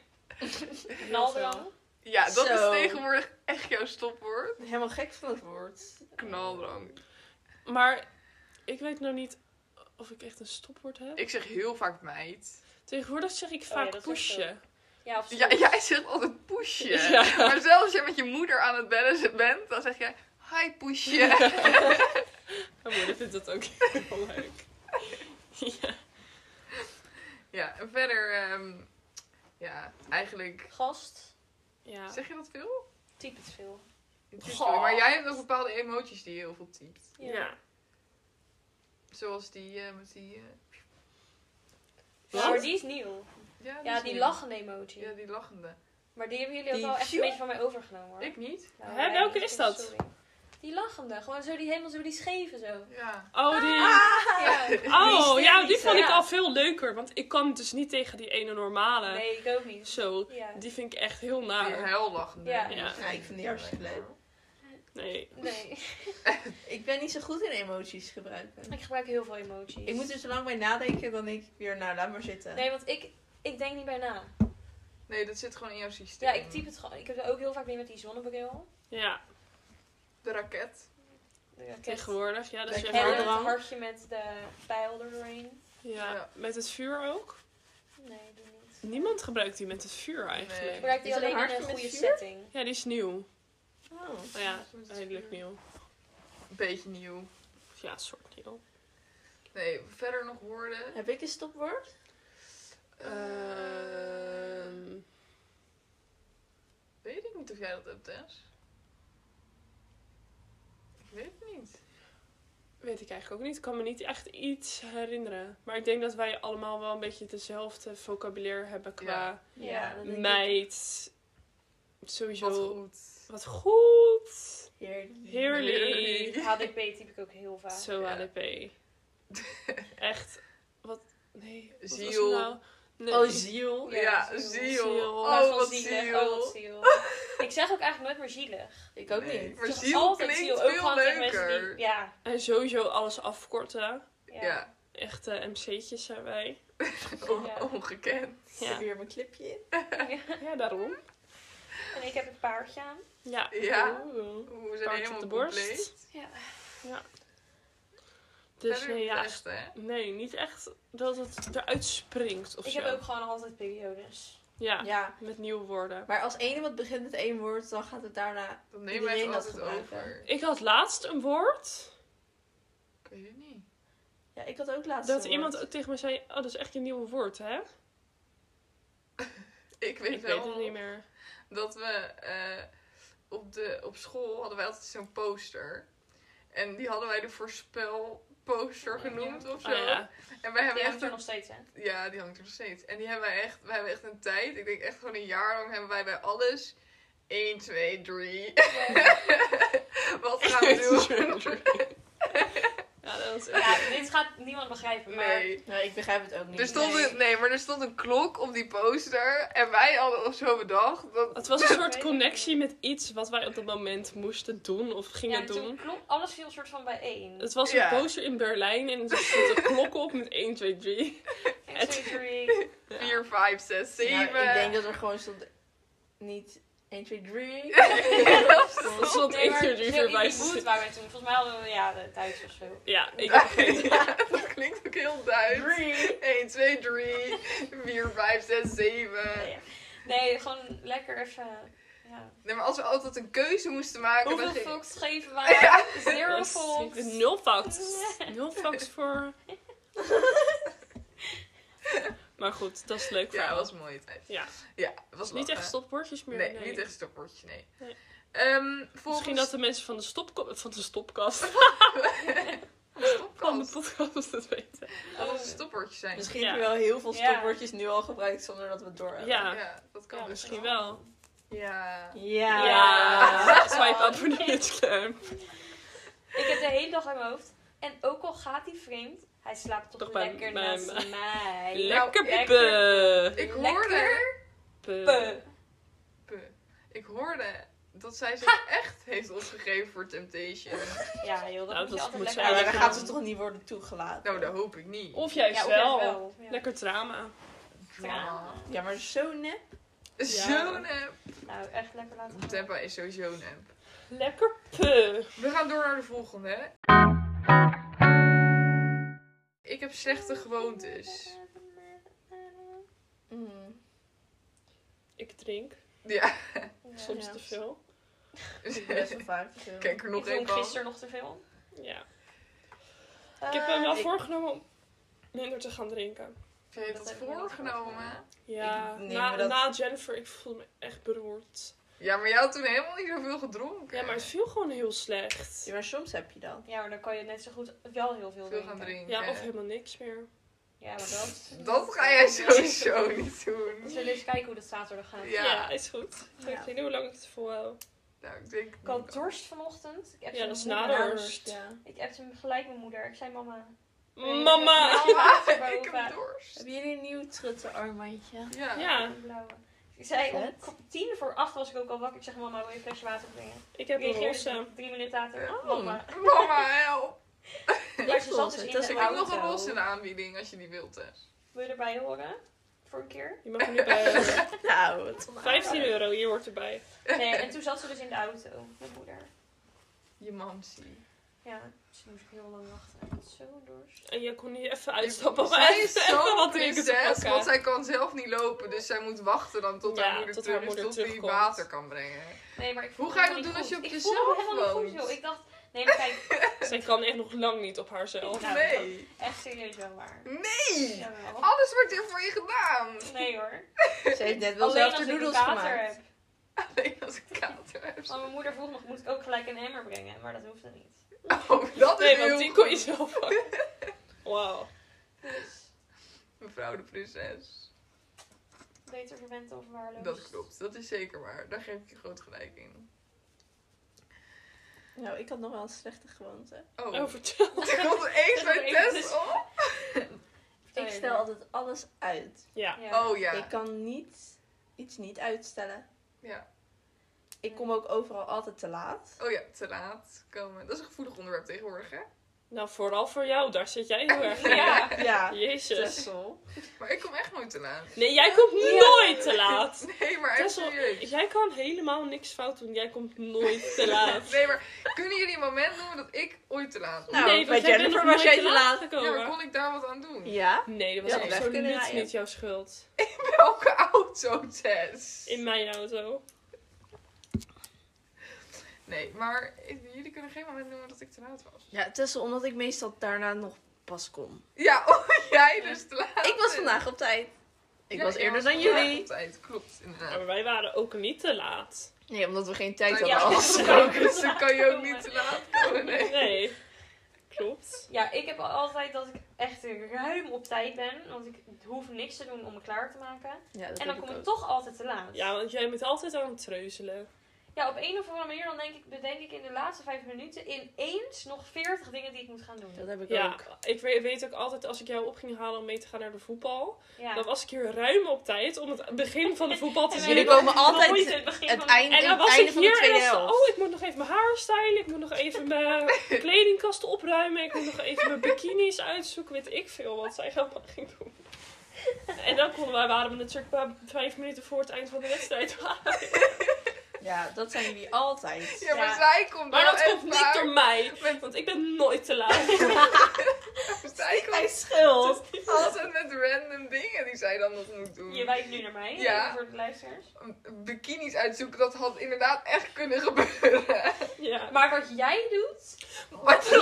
Speaker 2: Naldo.
Speaker 4: Ja, dat
Speaker 3: Zo.
Speaker 4: is tegenwoordig echt jouw stopwoord.
Speaker 3: Helemaal gek van het woord.
Speaker 4: Knaldrang.
Speaker 5: Maar ik weet nou niet of ik echt een stopwoord heb.
Speaker 4: Ik zeg heel vaak meid.
Speaker 5: Tegenwoordig zeg ik
Speaker 2: Oh ja,
Speaker 5: vaak
Speaker 2: dat is
Speaker 5: poesje.
Speaker 2: Ja, of
Speaker 4: Ja,
Speaker 2: zo.
Speaker 4: jij zegt altijd poesje.
Speaker 5: Ja.
Speaker 4: Maar zelfs als je met je moeder aan het bellen bent, dan zeg jij hi poesje.
Speaker 5: Mijn moeder vindt Oh, dat ook heel leuk. Ja.
Speaker 4: Ja, en verder, ehm, ja, eigenlijk.
Speaker 2: Gast.
Speaker 5: ja.
Speaker 4: Zeg je dat veel?
Speaker 2: Typ het veel.
Speaker 4: Het is veel, Maar jij hebt ook bepaalde emoties die je heel veel typt.
Speaker 5: Ja.
Speaker 4: Zoals die eh, met die. eh,
Speaker 2: Ja, maar die is nieuw.
Speaker 4: ja,
Speaker 2: Ja,
Speaker 4: is
Speaker 2: die
Speaker 4: nieuw.
Speaker 2: lachende emoji.
Speaker 4: Ja, die lachende.
Speaker 2: Maar die hebben jullie ook
Speaker 3: Die
Speaker 2: wel echt een
Speaker 3: view?
Speaker 2: beetje van mij overgenomen hoor.
Speaker 4: Ik niet.
Speaker 2: Nou,
Speaker 5: Hè,
Speaker 2: jij
Speaker 5: welke
Speaker 2: niet,
Speaker 5: is
Speaker 2: ik-
Speaker 5: dat?
Speaker 2: sorry. Die lachende. Gewoon zo die helemaal zo die scheve zo.
Speaker 4: Ja.
Speaker 5: Oh, die...
Speaker 3: Ah.
Speaker 2: Ja.
Speaker 5: Oh,
Speaker 2: Die
Speaker 5: ja, die vond ik
Speaker 2: ja.
Speaker 5: al veel leuker. Want ik kan dus niet tegen die ene normale.
Speaker 2: Nee, ik ook niet.
Speaker 5: Zo,
Speaker 2: Ja.
Speaker 5: die vind ik echt heel
Speaker 4: Die
Speaker 5: naar.
Speaker 4: huillachende.
Speaker 2: Ja.
Speaker 5: Ja.
Speaker 3: Ja, ik vind die hartstikke leuk.
Speaker 5: Nee.
Speaker 2: Nee.
Speaker 3: Ik ben niet zo goed in emoties gebruiken.
Speaker 2: Ik gebruik heel veel emoties.
Speaker 3: Ik moet dus- er zo lang bij nadenken, dan denk ik weer, nou, laat maar zitten.
Speaker 2: Nee, want ik, ik denk niet bij na.
Speaker 4: Nee, dat zit gewoon in jouw systeem.
Speaker 2: Ja, ik typ het gewoon. Ik heb er ook heel vaak mee met die zonnebril.
Speaker 5: Ja,
Speaker 4: De raket.
Speaker 2: Ja,
Speaker 5: tegenwoordig. Ja, dus dat is
Speaker 3: Lekker
Speaker 5: weer
Speaker 2: En
Speaker 5: hard.
Speaker 2: het
Speaker 3: Hardrang.
Speaker 2: hartje met de pijl er doorheen.
Speaker 5: Ja,
Speaker 4: Ja.
Speaker 5: met het vuur ook.
Speaker 2: Nee, doe niet.
Speaker 5: Niemand gebruikt die met het vuur
Speaker 4: Nee.
Speaker 5: eigenlijk.
Speaker 2: Ik gebruik die
Speaker 3: Is dat een
Speaker 2: alleen in
Speaker 3: hartje
Speaker 2: een
Speaker 3: met
Speaker 2: goede
Speaker 3: vuur?
Speaker 2: setting.
Speaker 5: Ja, die is nieuw.
Speaker 3: Oh.
Speaker 5: Nou ja, redelijk nieuw.
Speaker 4: Beetje nieuw.
Speaker 5: Of Ja, soort nieuw.
Speaker 4: Nee, verder nog woorden.
Speaker 3: Heb ik een stopwoord?
Speaker 4: Ehm, weet ik niet of jij dat hebt, Tess. Ik weet het niet.
Speaker 5: weet ik eigenlijk ook niet. Ik kan me niet echt iets herinneren. Maar ik denk dat wij allemaal wel een beetje hetzelfde vocabulaire hebben qua
Speaker 2: Ja,
Speaker 3: dat denk ik.
Speaker 5: meid. Sowieso.
Speaker 4: Wat goed.
Speaker 5: Wat goed.
Speaker 3: Heerlijk.
Speaker 5: Heerlijk.
Speaker 4: Heerlijk.
Speaker 2: HDP typ ik ook heel vaak.
Speaker 5: Zo
Speaker 4: Ja.
Speaker 5: ADP. Echt, wat, nee. wat was het
Speaker 4: Ziel.
Speaker 5: nou? Nee.
Speaker 3: Oh, ziel.
Speaker 2: Ja, ziel.
Speaker 4: Ja, ziel.
Speaker 5: Ziel.
Speaker 2: Maar
Speaker 4: Oh,
Speaker 2: van
Speaker 4: wat
Speaker 2: zielig,
Speaker 4: ziel.
Speaker 2: Oh, wat zielig. ik zeg ook eigenlijk nooit meer zielig.
Speaker 3: Ik ook
Speaker 4: Nee,
Speaker 3: niet.
Speaker 4: Maar
Speaker 2: Ik zeg
Speaker 4: ziel
Speaker 2: altijd
Speaker 4: klinkt
Speaker 2: ziel, ook
Speaker 4: veel
Speaker 2: gewoon tegen mensen die-
Speaker 4: leuker.
Speaker 2: ja,
Speaker 5: En sowieso alles afkorten.
Speaker 2: ja.
Speaker 4: Ja,
Speaker 5: Echte MC'tjes zijn wij.
Speaker 4: on-
Speaker 2: Ja.
Speaker 4: Oh, ongekend.
Speaker 3: Ik heb
Speaker 5: Ja,
Speaker 3: hier mijn clipje in.
Speaker 5: ja daarom.
Speaker 2: En ik heb een paardje aan.
Speaker 5: Ja.
Speaker 4: Ja.
Speaker 5: Oeh.
Speaker 4: Oeh, we zijn
Speaker 5: Paard op
Speaker 4: helemaal
Speaker 5: de borst.
Speaker 4: compleet.
Speaker 2: Ja.
Speaker 5: Dus
Speaker 4: Verder eh,
Speaker 5: nee,
Speaker 4: niet
Speaker 5: ja.
Speaker 4: echt, hè?
Speaker 5: Nee, niet echt dat het eruit springt of
Speaker 2: Ik
Speaker 5: zo.
Speaker 2: heb ook gewoon altijd periodes.
Speaker 5: Ja,
Speaker 3: Ja.
Speaker 5: met nieuwe woorden.
Speaker 3: Maar als één iemand begint met één woord, dan gaat het daarna...
Speaker 4: Dan nemen wij het
Speaker 3: Iedereen dat
Speaker 4: altijd
Speaker 3: gebruiken.
Speaker 4: over.
Speaker 5: Ik had laatst een woord
Speaker 4: Ik weet het niet.
Speaker 3: Ja, ik had ook laatst
Speaker 5: dat
Speaker 3: een
Speaker 5: iemand
Speaker 3: woord.
Speaker 5: ook tegen me zei: Oh, dat is echt je nieuwe woord, hè?
Speaker 4: Ik weet
Speaker 5: ik
Speaker 4: wel
Speaker 5: weet het niet meer.
Speaker 4: dat we eh, op, de, op school hadden wij altijd zo'n poster. En die hadden wij de voorspel poster genoemd of zo.
Speaker 5: Oh, ja.
Speaker 4: En wij hebben
Speaker 2: Die hangt
Speaker 4: echt
Speaker 2: er
Speaker 4: een
Speaker 2: nog steeds, hè?
Speaker 4: Ja, die hangt er nog steeds. En die hebben wij echt, wij hebben echt een tijd. Ik denk echt gewoon een jaar lang hebben wij bij alles 1, 2, 3. Wat gaan we doen?
Speaker 5: ja, dat is echt...
Speaker 2: Ja, dit gaat niemand begrijpen, maar...
Speaker 4: Nee.
Speaker 3: Nou, ik begrijp het ook niet.
Speaker 4: Er stond
Speaker 2: Nee.
Speaker 4: een, nee, maar er stond een klok op die poster. En wij hadden al zo bedacht. Dat,
Speaker 5: Het was een soort
Speaker 2: niet.
Speaker 5: connectie met iets wat wij op dat moment moesten doen of
Speaker 2: Ja,
Speaker 5: gingen
Speaker 2: en
Speaker 5: doen.
Speaker 2: toen klopt alles viel soort van bijeen.
Speaker 5: Het was
Speaker 4: Ja.
Speaker 5: een poster in Berlijn en er stond een klok op met 1, 2, 3.
Speaker 2: 1, 2, 3.
Speaker 4: 4, 5, 6, 7.
Speaker 3: Nou, ik denk dat er gewoon stond niet 1, 2, 3.
Speaker 5: Er stond 1, 2, 3 voorbij.
Speaker 2: In die boot waren we toen. Volgens mij hadden we ja, de thuis of zo.
Speaker 5: Ja, ik
Speaker 4: Ja, dat klinkt ook heel Duits. 1, 2, 3, 4, 5, 6, 7.
Speaker 2: Nee, ja. Nee, gewoon lekker even... Ja.
Speaker 4: Nee, maar als we altijd een keuze moesten maken,
Speaker 2: Hoeveel
Speaker 4: dan ging-
Speaker 2: volks geven wij? Zero volks.
Speaker 5: Nul facts. Nul facts voor... Maar goed, dat is leuk
Speaker 4: Ja,
Speaker 5: verhaal.
Speaker 4: dat was een mooie tijd.
Speaker 5: Ja.
Speaker 4: Ja, het was
Speaker 5: Niet
Speaker 4: lachen.
Speaker 5: echt stopwoordjes meer.
Speaker 4: Nee, niet echt stopwoordjes, nee.
Speaker 5: Nee.
Speaker 4: Ehm, volgens
Speaker 5: Misschien dat de mensen van de, stopko- van de stopkast van de
Speaker 4: stopkast,
Speaker 5: podcast het weten.
Speaker 4: dat
Speaker 2: Oh,
Speaker 4: het stopwoordjes zijn.
Speaker 3: Misschien
Speaker 5: Ja.
Speaker 3: heb je wel heel veel
Speaker 2: Ja.
Speaker 3: stopwoordjes nu al gebruikt zonder dat we het door hebben.
Speaker 5: Ja,
Speaker 4: Ja. dat kan
Speaker 2: Ja,
Speaker 4: best
Speaker 5: misschien wel.
Speaker 4: Ja.
Speaker 3: Ja.
Speaker 5: Ja, swipe up voor de bitchcam.
Speaker 2: Ik heb de hele dag in mijn hoofd. En ook al gaat hij vreemd, hij slaapt toch,
Speaker 5: Toch bij-
Speaker 2: lekker
Speaker 5: bij
Speaker 2: naast
Speaker 5: mij.
Speaker 2: mij.
Speaker 5: Lekker
Speaker 2: lekker.
Speaker 5: piepen.
Speaker 4: Ik
Speaker 2: nou, Lekker.
Speaker 4: hoorde,
Speaker 5: Piepen.
Speaker 2: Puh.
Speaker 4: Puh. ik hoorde dat zij zich echt heeft opgegeven voor Temptation.
Speaker 2: Ja, joh, dat moet
Speaker 5: Nou,
Speaker 2: je
Speaker 5: dat
Speaker 2: altijd
Speaker 5: moet
Speaker 2: lekker
Speaker 3: Ja, maar
Speaker 5: ze- Ja,
Speaker 3: dan
Speaker 5: dat
Speaker 2: doen.
Speaker 3: gaat ze toch niet worden toegelaten.
Speaker 4: Nou, dat hoop ik niet.
Speaker 5: Of juist
Speaker 2: Ja, of
Speaker 5: wel.
Speaker 2: juist wel. Ja.
Speaker 5: Lekker drama.
Speaker 4: Drama.
Speaker 3: Ja, maar zo nep.
Speaker 4: Zo'n app.
Speaker 2: Nou, echt lekker laten gaan.
Speaker 4: Tempa is sowieso een app.
Speaker 5: Lekker puh.
Speaker 4: We gaan door naar de volgende. Ik heb slechte gewoontes.
Speaker 3: Mm.
Speaker 5: Ik drink.
Speaker 4: Ja,
Speaker 5: Soms
Speaker 3: Ja.
Speaker 5: te veel.
Speaker 3: Ik best wel vaak te veel.
Speaker 4: kijk er
Speaker 2: Ik
Speaker 4: nog
Speaker 2: dronk
Speaker 4: één van.
Speaker 2: gisteren nog te veel.
Speaker 5: Ja. Ik heb me
Speaker 2: Eh,
Speaker 5: wel
Speaker 3: ik-
Speaker 5: voorgenomen om minder te gaan drinken.
Speaker 4: Ze heeft
Speaker 2: Dat
Speaker 4: dat
Speaker 2: heb ik me niet
Speaker 4: voorgenomen.
Speaker 5: Ja,
Speaker 3: nee,
Speaker 5: na,
Speaker 3: maar dat-
Speaker 5: na Jennifer, ik voelde me echt beroerd.
Speaker 4: Ja, maar jij had toen helemaal niet zoveel gedronken.
Speaker 5: Ja, maar het viel gewoon heel slecht.
Speaker 3: Ja, maar soms heb je dat.
Speaker 2: Ja, maar dan kan je net zo goed wel heel veel
Speaker 4: Veel
Speaker 2: drinken.
Speaker 4: gaan drinken.
Speaker 5: Ja, of helemaal niks meer.
Speaker 2: Ja, maar dat...
Speaker 4: Dat ga jij sowieso niet doen.
Speaker 2: We zullen eens kijken hoe dat zaterdag gaat.
Speaker 4: Ja.
Speaker 5: Ja, is goed. Ga Ik
Speaker 3: Ja.
Speaker 5: weet niet hoe lang ik het volhoud.
Speaker 4: Nou, ik denk...
Speaker 2: Ik had dorst vanochtend. Ik appte
Speaker 5: Ja, dat is
Speaker 2: mijn moeder.
Speaker 5: nader.
Speaker 3: Dorst, ja.
Speaker 2: Ik appte hem gelijk mijn moeder. Ik zei mama.
Speaker 5: Mama!
Speaker 4: Ah, ik heb dorst.
Speaker 3: Hebben jullie een nieuw trutte armbandje?
Speaker 4: Ja.
Speaker 5: Ja,
Speaker 2: Blauwe. Ik zei om
Speaker 3: Vet.
Speaker 2: k- tien voor acht was ik ook al wakker. Ik zeg mama, wil je een flesje water brengen?
Speaker 5: ik heb een
Speaker 2: Reageerde ze
Speaker 5: roze. Mm.
Speaker 2: drie minuten later.
Speaker 3: Oh.
Speaker 2: Mama.
Speaker 4: Eh, Mama, help.
Speaker 2: Maar ze zat
Speaker 3: roze,
Speaker 2: dus in
Speaker 3: dat is
Speaker 2: de
Speaker 4: Ik heb
Speaker 2: auto.
Speaker 4: nog een roze in de aanbieding als je die wilt. Hè.
Speaker 2: Wil je erbij horen? Voor een keer?
Speaker 5: Je mag er nu bij. horen.
Speaker 3: Nou, wat
Speaker 5: 15 euro, je hoort erbij.
Speaker 2: Nee, en toen zat ze dus in de auto. Mijn moeder.
Speaker 4: Je mamsie.
Speaker 2: Ja, dus toen moest ik heel lang wachten. Ik had zo dorst.
Speaker 5: En je kon niet even uitstappen om
Speaker 4: Zij is
Speaker 5: even even
Speaker 4: zo'n
Speaker 5: wat drinken te
Speaker 4: prinses, want
Speaker 5: pakken.
Speaker 4: zij kan zelf niet lopen. Dus zij moet wachten dan tot
Speaker 5: Ja,
Speaker 4: haar moeder,
Speaker 5: tot
Speaker 4: terug
Speaker 5: haar
Speaker 4: is,
Speaker 5: moeder
Speaker 4: tot die
Speaker 5: terugkomt.
Speaker 4: water kan brengen.
Speaker 2: Nee, maar ik
Speaker 4: Hoe
Speaker 2: voelde
Speaker 4: ga je
Speaker 2: me
Speaker 4: dat
Speaker 2: niet
Speaker 4: doen als
Speaker 2: goed.
Speaker 4: je op
Speaker 2: Ik voelde me
Speaker 4: jezelf
Speaker 2: helemaal niet goed,
Speaker 4: woont?
Speaker 2: joh. Ik dacht... Nee, maar kijk.
Speaker 5: Zij kan echt nog lang niet op haarzelf.
Speaker 2: Nou,
Speaker 4: nee.
Speaker 2: Echt serieus wel waar.
Speaker 4: Nee.
Speaker 2: Jawel.
Speaker 4: Alles wordt hier voor je gedaan.
Speaker 2: Nee hoor.
Speaker 3: Ze heeft net wel
Speaker 2: Alleen
Speaker 3: zelf
Speaker 2: als
Speaker 3: de
Speaker 2: ik een
Speaker 3: noedels
Speaker 2: kater
Speaker 3: gemaakt.
Speaker 2: heb.
Speaker 4: Alleen als ik kater heb.
Speaker 2: Want mijn moeder vroeg nog, moet ik ook gelijk een emmer brengen? Maar dat hoefde niet.
Speaker 4: Oh, dat is
Speaker 5: Nee,
Speaker 4: heel
Speaker 5: want die
Speaker 4: goed. Oh.
Speaker 5: kon je zelf pakken. Wauw.
Speaker 2: Dus
Speaker 4: Mevrouw de prinses.
Speaker 2: beter verwend dan verwaarloosd.
Speaker 4: Dat klopt, dat is zeker waar. Daar geef ik je groot gelijk in.
Speaker 3: Nou, ik had nog wel een slechte gewoonte.
Speaker 4: Oh,
Speaker 5: Oh, vertel.
Speaker 4: er komt er één
Speaker 2: Er komt
Speaker 4: zo'n
Speaker 3: dus-
Speaker 2: één
Speaker 4: test op.
Speaker 3: Ik stel altijd alles uit.
Speaker 5: Ja.
Speaker 4: Oh
Speaker 3: Ik
Speaker 4: ja.
Speaker 3: kan niet iets niet uitstellen.
Speaker 4: ja.
Speaker 3: Ik kom ook overal altijd te laat.
Speaker 4: Oh ja, te laat komen. Dat is een gevoelig onderwerp tegenwoordig, hè?
Speaker 5: Nou, vooral voor jou, daar zit jij heel erg in.
Speaker 2: Ja.
Speaker 3: Ja,
Speaker 5: Jezus.
Speaker 3: Tessel.
Speaker 4: Maar ik kom echt nooit te laat.
Speaker 5: Nee, jij komt nooit te laat.
Speaker 4: Nee, maar echt
Speaker 5: Tessel,
Speaker 4: serieus.
Speaker 5: jij kan helemaal niks fout doen. Jij komt nooit
Speaker 3: Nou,
Speaker 5: te laat.
Speaker 4: Nee, maar kunnen jullie een moment noemen dat ik ooit te laat was?
Speaker 3: Nou,
Speaker 5: nee,
Speaker 3: bij
Speaker 5: want jij bent
Speaker 3: Jennifer
Speaker 5: nog
Speaker 3: was
Speaker 5: nooit
Speaker 3: jij te laat.
Speaker 5: gekomen.
Speaker 4: Ja, maar kon ik daar wat aan doen?
Speaker 3: Ja?
Speaker 5: Nee, dat was
Speaker 3: Ja, weg kunnen
Speaker 5: absoluut
Speaker 3: rijden.
Speaker 5: niet jouw schuld.
Speaker 4: Welke auto, Tess?
Speaker 5: In mijn auto.
Speaker 4: Nee, maar ik- jullie kunnen geen moment noemen dat ik te laat was.
Speaker 3: Ja, Tessel, omdat ik meestal daarna nog pas kom.
Speaker 4: Ja, oh, jij dus te laat.
Speaker 3: Ik was
Speaker 4: bent.
Speaker 3: vandaag op tijd. Ik
Speaker 4: Ja,
Speaker 3: was
Speaker 4: jij
Speaker 3: eerder dan
Speaker 4: vandaag
Speaker 3: jullie.
Speaker 4: op tijd, Klopt,
Speaker 5: Ja,
Speaker 3: Ah.
Speaker 4: inderdaad.
Speaker 5: maar wij waren ook niet te laat.
Speaker 3: Nee, omdat we geen tijd
Speaker 4: Oh, Ja,
Speaker 3: hadden
Speaker 2: ja.
Speaker 3: afgesproken.
Speaker 4: Dus dan kan je ook niet te laat komen, nee.
Speaker 5: Nee. Klopt.
Speaker 2: Ja, ik heb altijd dat ik echt ruim op tijd ben. Want ik hoef niks te doen om me klaar te maken.
Speaker 3: Ja, dat heb
Speaker 2: En dan kom ik
Speaker 3: ook.
Speaker 2: toch altijd te laat.
Speaker 5: Ja, want jij bent altijd aan het treuzelen.
Speaker 2: Ja, op een of andere manier dan denk ik, bedenk ik in de laatste vijf minuten ineens nog veertig dingen die ik moet gaan
Speaker 3: Dat
Speaker 2: doen.
Speaker 3: heb ik
Speaker 5: ja,
Speaker 3: ook.
Speaker 5: ik weet, weet ook altijd als ik jou op ging halen om mee te gaan naar de voetbal. Dan
Speaker 2: Ja.
Speaker 5: was ik hier ruim op tijd om het begin van de voetbal te
Speaker 2: En
Speaker 5: zien.
Speaker 2: wij
Speaker 3: Jullie komen
Speaker 2: worden
Speaker 3: altijd
Speaker 2: nooit in het begin
Speaker 3: Het
Speaker 2: van-
Speaker 3: einde,
Speaker 5: En dan
Speaker 3: het
Speaker 5: was
Speaker 3: einde
Speaker 5: ik
Speaker 3: van de
Speaker 5: hier en
Speaker 3: tweede
Speaker 5: dan was
Speaker 3: helft.
Speaker 5: oh, ik moet nog even mijn haar stylen, ik moet nog even mijn kledingkast opruimen, ik moet nog even mijn bikinis uitzoeken, weet ik veel wat zij allemaal ging doen. En dan konden wij, waren we natuurlijk maar vijf minuten voor het eind van de wedstrijd.
Speaker 3: Ja, dat zijn jullie altijd.
Speaker 4: Ja, maar
Speaker 2: Ja.
Speaker 4: zij komt
Speaker 5: Maar
Speaker 4: wel
Speaker 5: dat
Speaker 4: Nou, echt
Speaker 5: komt niet
Speaker 4: vaak
Speaker 5: door mij,
Speaker 4: Met,
Speaker 5: want ik ben nooit te laat.
Speaker 4: zij
Speaker 3: Mijn
Speaker 4: komt
Speaker 3: schuld.
Speaker 4: altijd met random dingen die zij dan nog moet doen.
Speaker 2: Je wijkt nu naar mij,
Speaker 4: Ja.
Speaker 2: even voor de luisteraars.
Speaker 4: Bikinis uitzoeken, dat had inderdaad echt kunnen gebeuren.
Speaker 5: Ja, maar
Speaker 2: Maar wat jij doet,
Speaker 4: Wat
Speaker 2: Ja.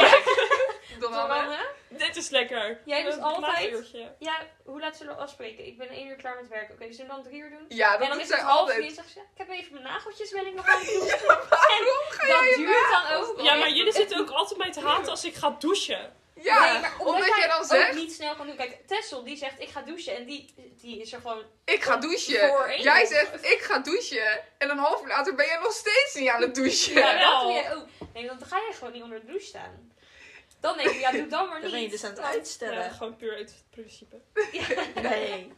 Speaker 4: dan?
Speaker 2: Doranne,
Speaker 5: dit is lekker.
Speaker 2: Jij doet
Speaker 5: Een
Speaker 2: altijd-
Speaker 5: laat uurtje.
Speaker 2: ja, hoe laat zullen we afspreken? Ik ben één uur klaar met werk. Oké, zullen we dan drie uur doen?
Speaker 4: Ja,
Speaker 2: en
Speaker 4: dat
Speaker 2: dan
Speaker 4: doet
Speaker 2: is het
Speaker 4: zij
Speaker 2: half vier,
Speaker 4: altijd.
Speaker 2: zegt ze, ik heb even mijn nageltjes ben ik nog aan het doen.
Speaker 4: Waarom ga jij
Speaker 2: Dat
Speaker 4: je
Speaker 2: duurt dan
Speaker 4: nagels
Speaker 2: ook.
Speaker 4: doen?
Speaker 5: Ja, maar jullie zitten ook altijd mij te haten als ik ga douchen.
Speaker 4: Ja,
Speaker 2: Nee, maar
Speaker 4: omdat jij dan
Speaker 2: ook
Speaker 4: zegt,
Speaker 2: niet snel kan doen. Kijk, Tessel die zegt ik ga douchen en die, die is er gewoon...
Speaker 4: ik ga
Speaker 2: Voor
Speaker 4: douchen.
Speaker 2: één
Speaker 4: Jij
Speaker 2: uur.
Speaker 4: zegt, ik ga douchen. En een half uur later ben jij nog steeds niet aan het douchen.
Speaker 2: Ja,
Speaker 5: Jawel.
Speaker 2: dat doe jij ook. Nee, want dan ga jij gewoon niet onder de douche staan. Dan denk ik, ja doe dan maar
Speaker 3: Dan
Speaker 2: niet.
Speaker 3: ben je dus aan het
Speaker 2: Want-
Speaker 5: Ja,
Speaker 3: uitstellen.
Speaker 5: gewoon puur uit het principe.
Speaker 3: Nee.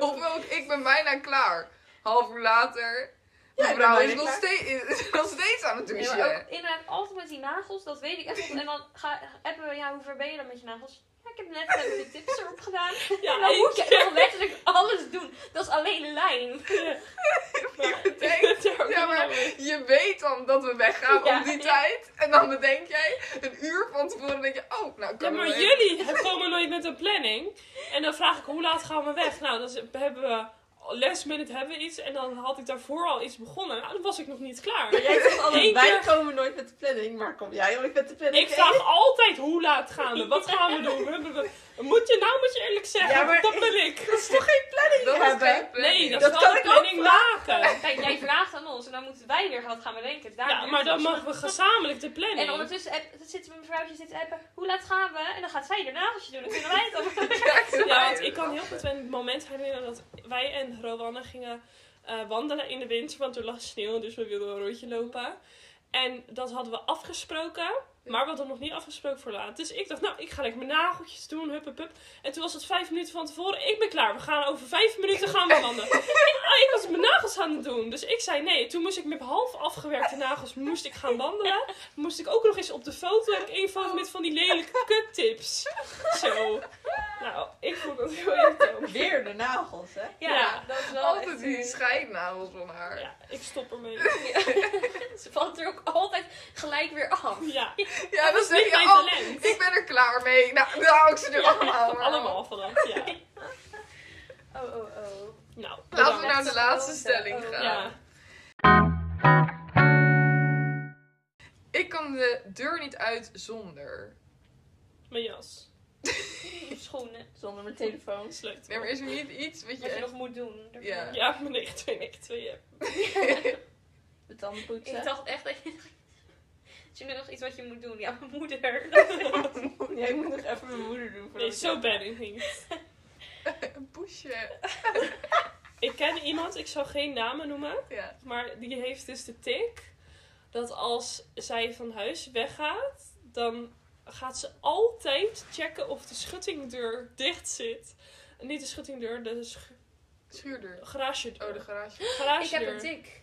Speaker 4: Of ook, ik ben bijna klaar. Half uur later.
Speaker 3: Ja,
Speaker 4: De
Speaker 3: ik ben
Speaker 4: vrouw is
Speaker 3: bijna
Speaker 4: nog,
Speaker 3: klaar.
Speaker 4: steeds, is nog steeds aan het
Speaker 2: Nee,
Speaker 4: douchen.
Speaker 2: maar ook inderdaad altijd met die nagels, dat weet ik echt. En dan ga, appen we, ja, hoe ver ben je dan met je nagels? Ja, ik heb net even de tips erop gedaan.
Speaker 5: Ja,
Speaker 2: En dan moet
Speaker 5: één
Speaker 2: je echt letterlijk alles doen. Dat is alleen lijn.
Speaker 5: keer. Maar ik
Speaker 4: bedenkt-
Speaker 5: vind het daar ook
Speaker 4: Ja, maar
Speaker 5: helemaal mee.
Speaker 4: Je weet dan dat we weggaan
Speaker 2: Ja,
Speaker 4: om die
Speaker 2: ja.
Speaker 4: tijd. En dan bedenk jij een uur van tevoren. denk je, oh, nou ik
Speaker 5: Ja,
Speaker 4: kan
Speaker 5: maar
Speaker 4: wel even-
Speaker 5: jullie komen nooit met een planning. En dan vraag ik hoe laat gaan we weg? Nou, dan z- hebben we last minute hebben we iets. En dan had ik daarvoor al iets begonnen. Nou, dan was ik nog niet klaar.
Speaker 3: Jij zegt
Speaker 5: Eén
Speaker 3: altijd, wij
Speaker 5: keer-
Speaker 3: komen nooit met de planning, maar kom jij ooit met de planning?
Speaker 5: Ik vraag altijd hoe laat gaan we? Wat gaan we doen? We- we- we- Moet je nou moet je eerlijk zeggen?
Speaker 3: Ja, maar
Speaker 5: dat
Speaker 3: ik-
Speaker 5: ben ik.
Speaker 3: Dat is toch geen planning
Speaker 4: Dat is
Speaker 3: hebben?
Speaker 4: geen planning.
Speaker 5: Nee, dat,
Speaker 3: Dat
Speaker 5: is
Speaker 3: kan
Speaker 5: wel een
Speaker 3: ik ook
Speaker 5: planning maken.
Speaker 2: Kijk, jij vraagt aan ons en dan moeten wij weer wat gaan bedenken. Daar
Speaker 5: Ja,
Speaker 2: duurt
Speaker 5: maar
Speaker 2: het
Speaker 5: dan
Speaker 2: dus.
Speaker 5: mogen we gezamenlijk de
Speaker 2: En
Speaker 5: planning.
Speaker 2: ondertussen app, dan zitten we met mevrouwtje zitten appen. Hoe laat gaan we? En dan gaat zij de nageltje doen. Dan kunnen wij het allemaal.
Speaker 5: Ja, want ik kan heel goed een moment herinneren dat wij en Rowanne gingen eh, wandelen in de winter, want er lag sneeuw, dus we wilden een rondje lopen. En dat hadden we afgesproken, maar we hadden nog niet afgesproken voor laat. Dus ik dacht, nou, ik ga lekker mijn nageltjes doen, hup, hup, hup. En toen was het vijf minuten van tevoren, ik ben klaar, we gaan over vijf minuten gaan we wandelen. En, ah, ik was mijn nagels aan het doen, dus ik zei nee. Toen moest ik met half afgewerkte nagels moest ik gaan wandelen. Moest ik ook nog eens op de foto, heb ik één foto met van die lelijke kuttips. Zo. Nou, ik vond dat heel irritant.
Speaker 3: Weer de nagels, hè?
Speaker 2: Ja,
Speaker 5: Ja.
Speaker 2: dat is wel
Speaker 4: Altijd
Speaker 2: echt,
Speaker 4: die
Speaker 2: eh,
Speaker 4: scheidnagels van haar.
Speaker 5: Ja, ik stop ermee.
Speaker 2: Ze valt er ook altijd gelijk weer af.
Speaker 5: Ja,
Speaker 4: Ja, dan
Speaker 5: dat is
Speaker 4: zeg
Speaker 5: niet
Speaker 4: je,
Speaker 5: mijn
Speaker 4: oh,
Speaker 5: talent.
Speaker 4: ik ben er klaar mee. Nou, dan hou ik ze er allemaal. maar-
Speaker 5: Allemaal vanaf, ja.
Speaker 2: Oh, oh, oh.
Speaker 5: Nou,
Speaker 4: Laten we
Speaker 5: bedankt.
Speaker 4: naar de laatste
Speaker 2: Oh,
Speaker 4: stelling
Speaker 2: oh,
Speaker 4: gaan.
Speaker 5: Ja,
Speaker 4: Ik kan de deur niet uit zonder.
Speaker 5: mijn jas.
Speaker 2: Schoenen.
Speaker 3: Zonder mijn telefoon.
Speaker 5: Dat is leuk.
Speaker 4: Nee, maar is er niet iets wat je...
Speaker 2: Wat je nog moet doen. daarvoor.
Speaker 4: Ja.
Speaker 5: Ja, mijn 929 heb.
Speaker 3: De tanden
Speaker 2: Ik
Speaker 3: poetsen.
Speaker 2: dacht echt dat je... Is er nog iets wat je moet doen? Ja, mijn moeder.
Speaker 3: Jij moet nog even mijn moeder doen.
Speaker 5: Nee,
Speaker 3: voordat
Speaker 5: zo
Speaker 3: ik-
Speaker 5: ben ik niet.
Speaker 4: Een poesje.
Speaker 5: Ik ken iemand, ik zal geen namen noemen,
Speaker 4: Ja.
Speaker 5: maar die heeft dus de tik dat als zij van huis weggaat, dan gaat ze altijd checken of de schuttingdeur dicht zit. Niet de schuttingdeur, de sch-
Speaker 4: Schuurdeur. Oh, de
Speaker 5: garagedeur.
Speaker 4: garage.
Speaker 2: Ik
Speaker 5: garagedeur.
Speaker 2: heb een tik.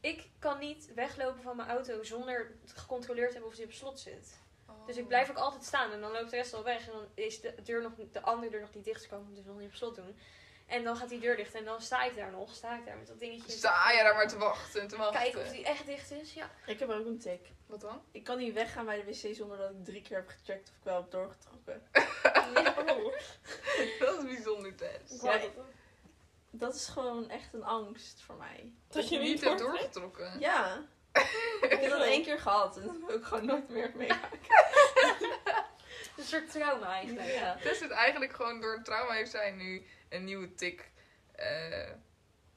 Speaker 2: Ik kan niet weglopen van mijn auto zonder gecontroleerd te hebben of die op slot zit.
Speaker 4: Oh.
Speaker 2: Dus ik blijf ook altijd staan en dan loopt de rest al weg. En dan is de, deur nog, de andere deur nog niet dicht, dus ik kan hem dus nog niet op slot doen. En dan gaat die deur dicht en dan sta ik daar nog. Sta ik daar met dat dingetje.
Speaker 4: Oh. Sta je daar maar te wachten en te wachten.
Speaker 2: Kijken of die echt dicht is. Ja.
Speaker 3: Ik heb ook een tik.
Speaker 4: Wat dan?
Speaker 3: Ik kan niet weggaan bij de wc zonder dat ik drie keer heb gecheckt of ik wel heb doorgetrokken.
Speaker 5: Oh,
Speaker 4: Dat is een bijzonder test.
Speaker 5: ik wou
Speaker 3: Ja,
Speaker 5: dat-
Speaker 3: Dat is gewoon echt een angst voor mij.
Speaker 5: Dat je niet
Speaker 4: hebt
Speaker 5: hoort.
Speaker 4: doorgetrokken.
Speaker 3: Ja. Ik heb dat één keer gehad en dat wil ik gewoon nooit meer meemaken.
Speaker 2: Een soort trauma eigenlijk.
Speaker 3: Ja.
Speaker 4: Tess het eigenlijk gewoon door een trauma heeft zij nu een nieuwe tik eh,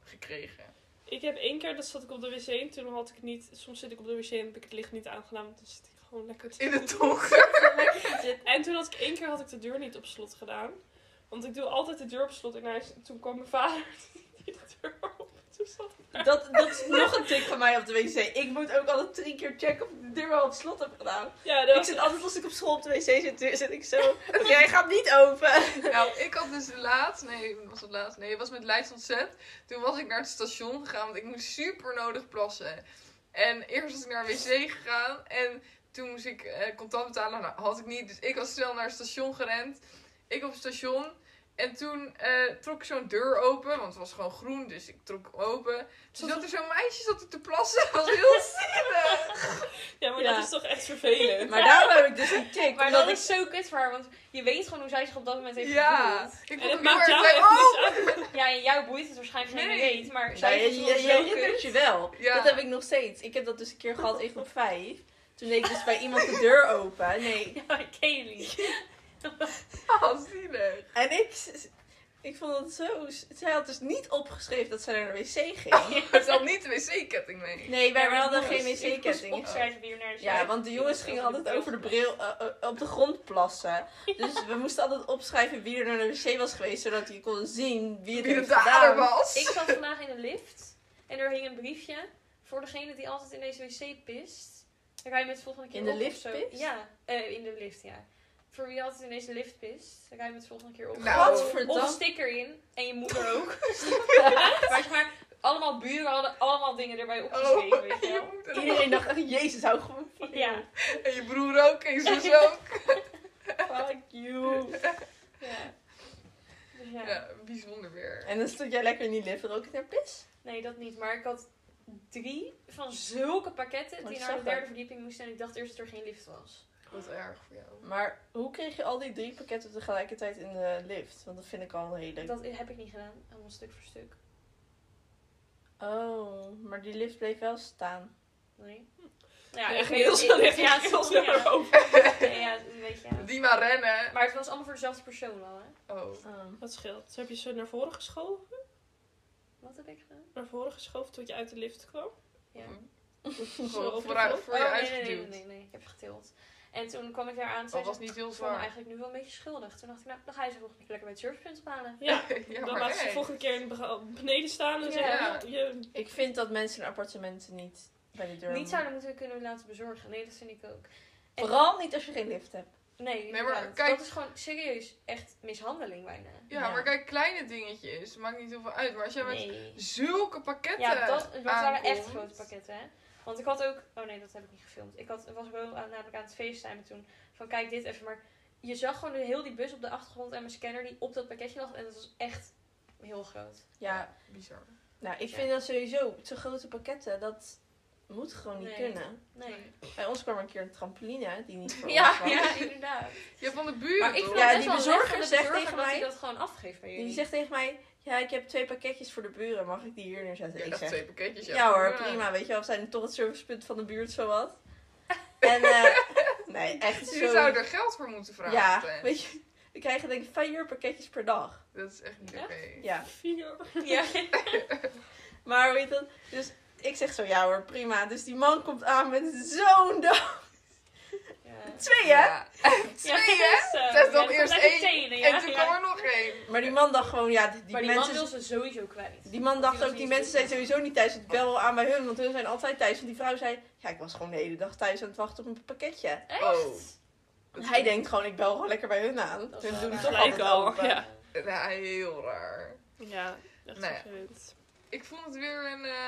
Speaker 4: gekregen.
Speaker 5: Ik heb één keer, dat zat ik op de wc en toen had ik het niet... Soms zit ik op de wc en heb ik het licht niet aangedaan, want dan zit ik gewoon... gewoon lekker te
Speaker 4: In het donker.
Speaker 5: En toen had ik één keer had ik de deur niet op slot gedaan. Want ik doe altijd de deur op slot. En hij, is- toen kwam mijn vader die de deur op. Toen zat ik daar.
Speaker 3: Dat, dat is nog een tik van mij op de wc. Ik moet ook altijd drie keer checken of ik de deur wel op slot heb gedaan.
Speaker 5: Ja, dat
Speaker 3: Ik
Speaker 5: was
Speaker 3: zit altijd als ik op school op de wc zit, zit ik zo. Oké, hij gaat niet open.
Speaker 4: Nou, ik had dus laatst, nee, was het laatst, nee, het was met Leids ontzet. Toen was ik naar het station gegaan, want ik moest super nodig plassen. En eerst was ik naar een wc gegaan en toen moest ik eh, contant betalen. Nou, had ik niet, dus ik was snel naar het station gerend. Ik op het station. En toen eh, trok ik zo'n deur open, want het was gewoon groen, dus ik trok hem open. Toen zat er zo'n meisje zat er te plassen, dat was heel zielig.
Speaker 5: Ja, maar
Speaker 3: Ja.
Speaker 5: dat is toch echt vervelend.
Speaker 3: Maar daarom heb ik dus een tik.
Speaker 2: Maar
Speaker 3: omdat
Speaker 2: dat
Speaker 3: ik-
Speaker 2: is zo kut voor haar, want je weet gewoon hoe zij zich op dat moment heeft
Speaker 4: Ja,
Speaker 2: gevoeld.
Speaker 4: ik
Speaker 5: en
Speaker 4: vond
Speaker 5: het
Speaker 4: het heel erg
Speaker 5: maakt jou
Speaker 4: blij.
Speaker 5: echt
Speaker 4: Oh,
Speaker 5: niks uit.
Speaker 2: Ja, en jou boeit het waarschijnlijk geen
Speaker 4: Nee.
Speaker 2: reet, maar
Speaker 3: Ja,
Speaker 2: zij
Speaker 3: je,
Speaker 2: heeft
Speaker 3: je,
Speaker 2: het
Speaker 3: je dus.
Speaker 2: zo
Speaker 3: herinnert
Speaker 2: kut.
Speaker 3: je wel.
Speaker 4: Ja.
Speaker 3: Dat heb ik nog steeds. Ik heb dat dus een keer gehad in groep 5. Toen deed ik dus bij iemand de deur open. Nee.
Speaker 2: Ja, Kaylee.
Speaker 4: Oh, wat zielig.
Speaker 3: En ik, ik vond dat zo... Zij had dus niet opgeschreven dat zij naar de wc ging.
Speaker 4: Maar ze had niet de wc-ketting mee.
Speaker 3: Nee, wij
Speaker 2: Ja, maar
Speaker 3: hadden
Speaker 2: jongens,
Speaker 3: geen
Speaker 2: Ik moest
Speaker 3: wc-ketting.
Speaker 2: opschrijven wie er naar de
Speaker 3: Ja,
Speaker 2: zaak
Speaker 3: want de jongens
Speaker 2: ging.
Speaker 3: gingen altijd over de bril eh, eh, op de grond plassen. Dus we moesten altijd opschrijven wie er naar de wc was geweest, zodat je kon zien wie het
Speaker 4: Wie de
Speaker 3: heeft
Speaker 4: dader
Speaker 3: gedaan.
Speaker 4: was.
Speaker 2: Ik zat vandaag in de lift en er hing een briefje voor degene die altijd in deze wc pist. Dan ga je met de volgende keer
Speaker 3: In de
Speaker 2: op
Speaker 3: lift
Speaker 2: of zo.
Speaker 3: pist?
Speaker 2: Ja, eh, in de lift, ja. Voor wie altijd in deze lift pist, dan ga je met de volgende keer op.
Speaker 4: Nou.
Speaker 3: Wat
Speaker 2: Of een
Speaker 3: verdacht.
Speaker 2: sticker in. En je moeder ook. maar zeg maar, allemaal buren hadden allemaal dingen erbij opgeschreven.
Speaker 3: Oh.
Speaker 2: weet je
Speaker 4: en je
Speaker 2: wel.
Speaker 4: moeder ook.
Speaker 3: Iedereen dacht echt, jezus, hou gewoon van je.
Speaker 2: Ja.
Speaker 4: En je broer ook, en je zus ook.
Speaker 3: Fuck you.
Speaker 2: ja. Dus ja.
Speaker 4: Ja, bijzonder weer.
Speaker 3: En dan stond jij lekker in die lift rook ik naar pis.
Speaker 2: Nee, dat niet. Maar ik had drie van zulke pakketten
Speaker 3: Wat
Speaker 2: die
Speaker 3: is
Speaker 2: naar de
Speaker 3: dat
Speaker 2: derde
Speaker 3: dan?
Speaker 2: verdieping moesten. En ik dacht eerst dat er geen lift was.
Speaker 4: Wat erg voor jou.
Speaker 3: Maar hoe kreeg je al die drie pakketten tegelijkertijd in de lift? Want dat vind ik al een hele...
Speaker 2: Dat heb ik niet gedaan. Allemaal stuk voor stuk.
Speaker 3: Oh, maar die lift bleef wel staan.
Speaker 2: Nee. Ja,
Speaker 5: echt
Speaker 2: weet-
Speaker 5: heel snel echt
Speaker 2: Ja,
Speaker 5: heel snel
Speaker 2: soms, ja.
Speaker 5: erover.
Speaker 2: Nee, ja, een beetje. ja.
Speaker 4: Die maar rennen.
Speaker 2: Maar het was allemaal voor dezelfde persoon al, hè?
Speaker 4: Oh.
Speaker 3: Oh.
Speaker 5: Wat scheelt? Heb je ze naar voren geschoven?
Speaker 2: Wat heb ik gedaan?
Speaker 5: Naar voren geschoven tot je uit de lift kwam?
Speaker 2: Ja.
Speaker 5: Zo
Speaker 4: Gewoon vooruit, voor je
Speaker 2: Oh, nee, nee, nee, nee,
Speaker 4: uitgeduwd.
Speaker 2: nee, nee. Ik heb getild. En toen kwam ik daar aan.
Speaker 4: Dat
Speaker 2: Zei
Speaker 4: was
Speaker 2: ze,
Speaker 4: niet heel
Speaker 2: ik voel me
Speaker 4: zwaar.
Speaker 2: eigenlijk nu wel een beetje schuldig. Toen dacht ik, nou, dan ga je ze volgende keer lekker bij het servicepunt ophalen.
Speaker 5: Ja.
Speaker 4: Ja,
Speaker 5: Dan
Speaker 4: maar
Speaker 5: laat ze de
Speaker 4: hey.
Speaker 5: volgende keer in de bega- beneden staan en
Speaker 2: Ja.
Speaker 5: zeggen, "Joh, je
Speaker 3: Ik vind dat mensen in appartementen niet bij de deur
Speaker 2: Niet
Speaker 3: moeten.
Speaker 2: zouden moeten kunnen laten bezorgen. Nee, dat vind ik ook. En-
Speaker 3: Vooral niet als je geen lift hebt.
Speaker 2: Nee,
Speaker 4: maar
Speaker 2: inderdaad.
Speaker 4: kijk-
Speaker 2: dat is gewoon serieus echt mishandeling bijna.
Speaker 4: Ja,
Speaker 3: Ja.
Speaker 4: maar kijk, kleine dingetjes. Maakt niet heel veel uit. Maar als jij met
Speaker 2: Nee.
Speaker 4: zulke pakketten
Speaker 2: Ja, dat het waren
Speaker 4: aankomt.
Speaker 2: echt grote pakketten, hè? Want ik had ook. Oh nee, dat heb ik niet gefilmd. Ik had, was wel aan, namelijk aan het facetimen toen. Van kijk dit even. Maar je zag gewoon de, heel die bus op de achtergrond en mijn scanner die op dat pakketje lag. En dat was echt heel groot.
Speaker 3: Ja,
Speaker 4: Bizar.
Speaker 3: nou, ik
Speaker 2: Ja.
Speaker 3: vind dat sowieso, te grote pakketten, dat moet gewoon niet
Speaker 2: Nee.
Speaker 3: kunnen.
Speaker 2: Nee.
Speaker 3: Bij ons kwam een keer een trampoline die niet voor ons
Speaker 2: Ja,
Speaker 3: was.
Speaker 2: ja, inderdaad.
Speaker 4: Je hebt van de buren,
Speaker 2: Maar ik vond
Speaker 4: toch?
Speaker 3: Ja,
Speaker 2: het
Speaker 3: die
Speaker 2: best wel
Speaker 3: bezorger
Speaker 2: lef van de
Speaker 3: zegt
Speaker 2: bezorger
Speaker 3: tegen
Speaker 2: dat
Speaker 3: mij-
Speaker 2: hij dat gewoon afgeeft bij jullie.
Speaker 3: Die zegt tegen mij, ja, ik heb twee pakketjes voor de buren, mag ik die hier neerzetten?
Speaker 4: Ja,
Speaker 3: ik
Speaker 4: dat
Speaker 3: zeg,
Speaker 4: twee pakketjes.
Speaker 3: Ja hoor, prima. Weet je wel, we zijn toch het servicepunt van de buurt, zowat. En, eh nee, echt
Speaker 4: Je
Speaker 3: zo.
Speaker 4: zou er geld voor moeten vragen.
Speaker 3: Ja, weet je, we krijgen denk ik vier pakketjes per dag.
Speaker 4: Dat is echt niet
Speaker 2: Ja?
Speaker 4: oké.
Speaker 3: Ja,
Speaker 5: vier
Speaker 2: Ja.
Speaker 3: maar weet je, dus ik zeg zo, ja hoor, prima. Dus die man komt aan met zo'n dag.
Speaker 2: ja.
Speaker 3: Twee, hè?
Speaker 4: Twee, hè? Dat is dan eerst één. En toen kwam er nog één.
Speaker 3: Maar die man dacht gewoon, ja, die, die
Speaker 2: maar die
Speaker 3: mensen...
Speaker 2: man wil ze sowieso kwijt.
Speaker 3: Die man
Speaker 2: Die
Speaker 3: dacht
Speaker 2: was
Speaker 3: ook, die
Speaker 2: niet Oh.
Speaker 3: mensen zijn
Speaker 2: terug.
Speaker 3: sowieso niet thuis. Ik bel wel aan bij hun, want hun zijn altijd thuis. Want die vrouw zei, ja, ik was gewoon de hele dag thuis aan het wachten op een pakketje.
Speaker 2: Echt?
Speaker 4: Oh.
Speaker 3: En hij denkt gewoon, ik bel gewoon lekker bij hun aan.
Speaker 2: Dat is
Speaker 3: Hun
Speaker 2: wel
Speaker 3: doen
Speaker 2: raar.
Speaker 3: toch
Speaker 5: Gelijk
Speaker 3: altijd
Speaker 5: al.
Speaker 3: open.
Speaker 5: Ja.
Speaker 4: Ja, heel raar.
Speaker 5: Ja, echt
Speaker 4: Nou ja.
Speaker 5: vervelend.
Speaker 4: Ik vond het weer een eh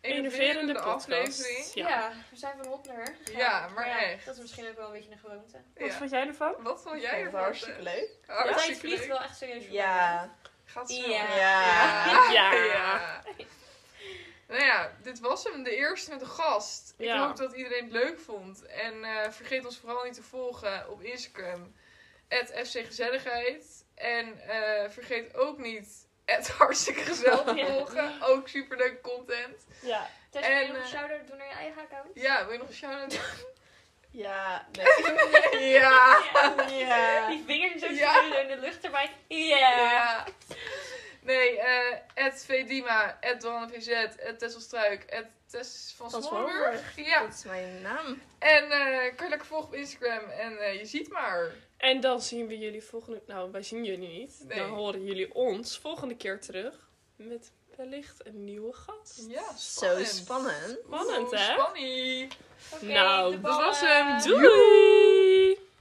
Speaker 5: Enerverende
Speaker 4: enerverende
Speaker 5: podcast.
Speaker 4: aflevering.
Speaker 5: Ja.
Speaker 2: Ja. we zijn van hop naar her.
Speaker 4: Ja, maar echt. Oh,
Speaker 2: Dat is misschien ook wel een beetje een gewoonte.
Speaker 5: Wat
Speaker 4: Ja.
Speaker 5: vond jij ervan?
Speaker 4: Wat vond
Speaker 3: Ik
Speaker 4: jij
Speaker 3: vond het
Speaker 4: ervan?
Speaker 3: hartstikke leuk.
Speaker 4: hè?
Speaker 2: De tijd
Speaker 4: Hartstikke
Speaker 2: vliegt
Speaker 4: leuk.
Speaker 2: wel echt serieus voorbij.
Speaker 3: Ja.
Speaker 4: Gaat
Speaker 2: Ja.
Speaker 4: snel.
Speaker 3: Ja.
Speaker 5: Ja.
Speaker 4: Ja. Nou ja, dit was hem. De eerste met de gast. Ik
Speaker 5: Ja.
Speaker 4: hoop dat iedereen het leuk vond. En eh, vergeet ons vooral niet te volgen op Instagram. @fcgezelligheid En eh, vergeet ook niet... Het hartstikke gezellig te
Speaker 2: Ja.
Speaker 4: volgen. Ook superleuk content.
Speaker 5: Ja.
Speaker 2: Tess, wil je
Speaker 4: En,
Speaker 2: nog een
Speaker 4: eh,
Speaker 2: shout-out doen naar je eigen account?
Speaker 4: Ja, wil je nog een shout-out?
Speaker 3: Ja.
Speaker 4: Ja.
Speaker 3: Nee. ja.
Speaker 2: Die vingers zo
Speaker 4: Ja.
Speaker 2: zo in de lucht erbij. Ja.
Speaker 4: Ja. Nee, eh Ed Vedima, Ed Dwan VZ, Ed Tesselstruik, Ed Tess van
Speaker 3: Van
Speaker 4: Smolburg. Ja,
Speaker 3: Dat is mijn naam.
Speaker 4: en eh, kan je lekker volgen op Instagram en eh, je ziet maar.
Speaker 5: En dan zien we jullie volgende... Nou, wij zien jullie niet.
Speaker 4: Nee.
Speaker 5: Dan horen jullie ons volgende keer terug. Met wellicht een nieuwe gast.
Speaker 4: Ja,
Speaker 3: Zo spannend.
Speaker 5: Spannend,
Speaker 4: Oeh,
Speaker 5: hè?
Speaker 4: Spannend.
Speaker 2: Oké,
Speaker 5: Nou,
Speaker 2: de
Speaker 4: dat was
Speaker 2: ballen.
Speaker 4: hem.
Speaker 5: Doei!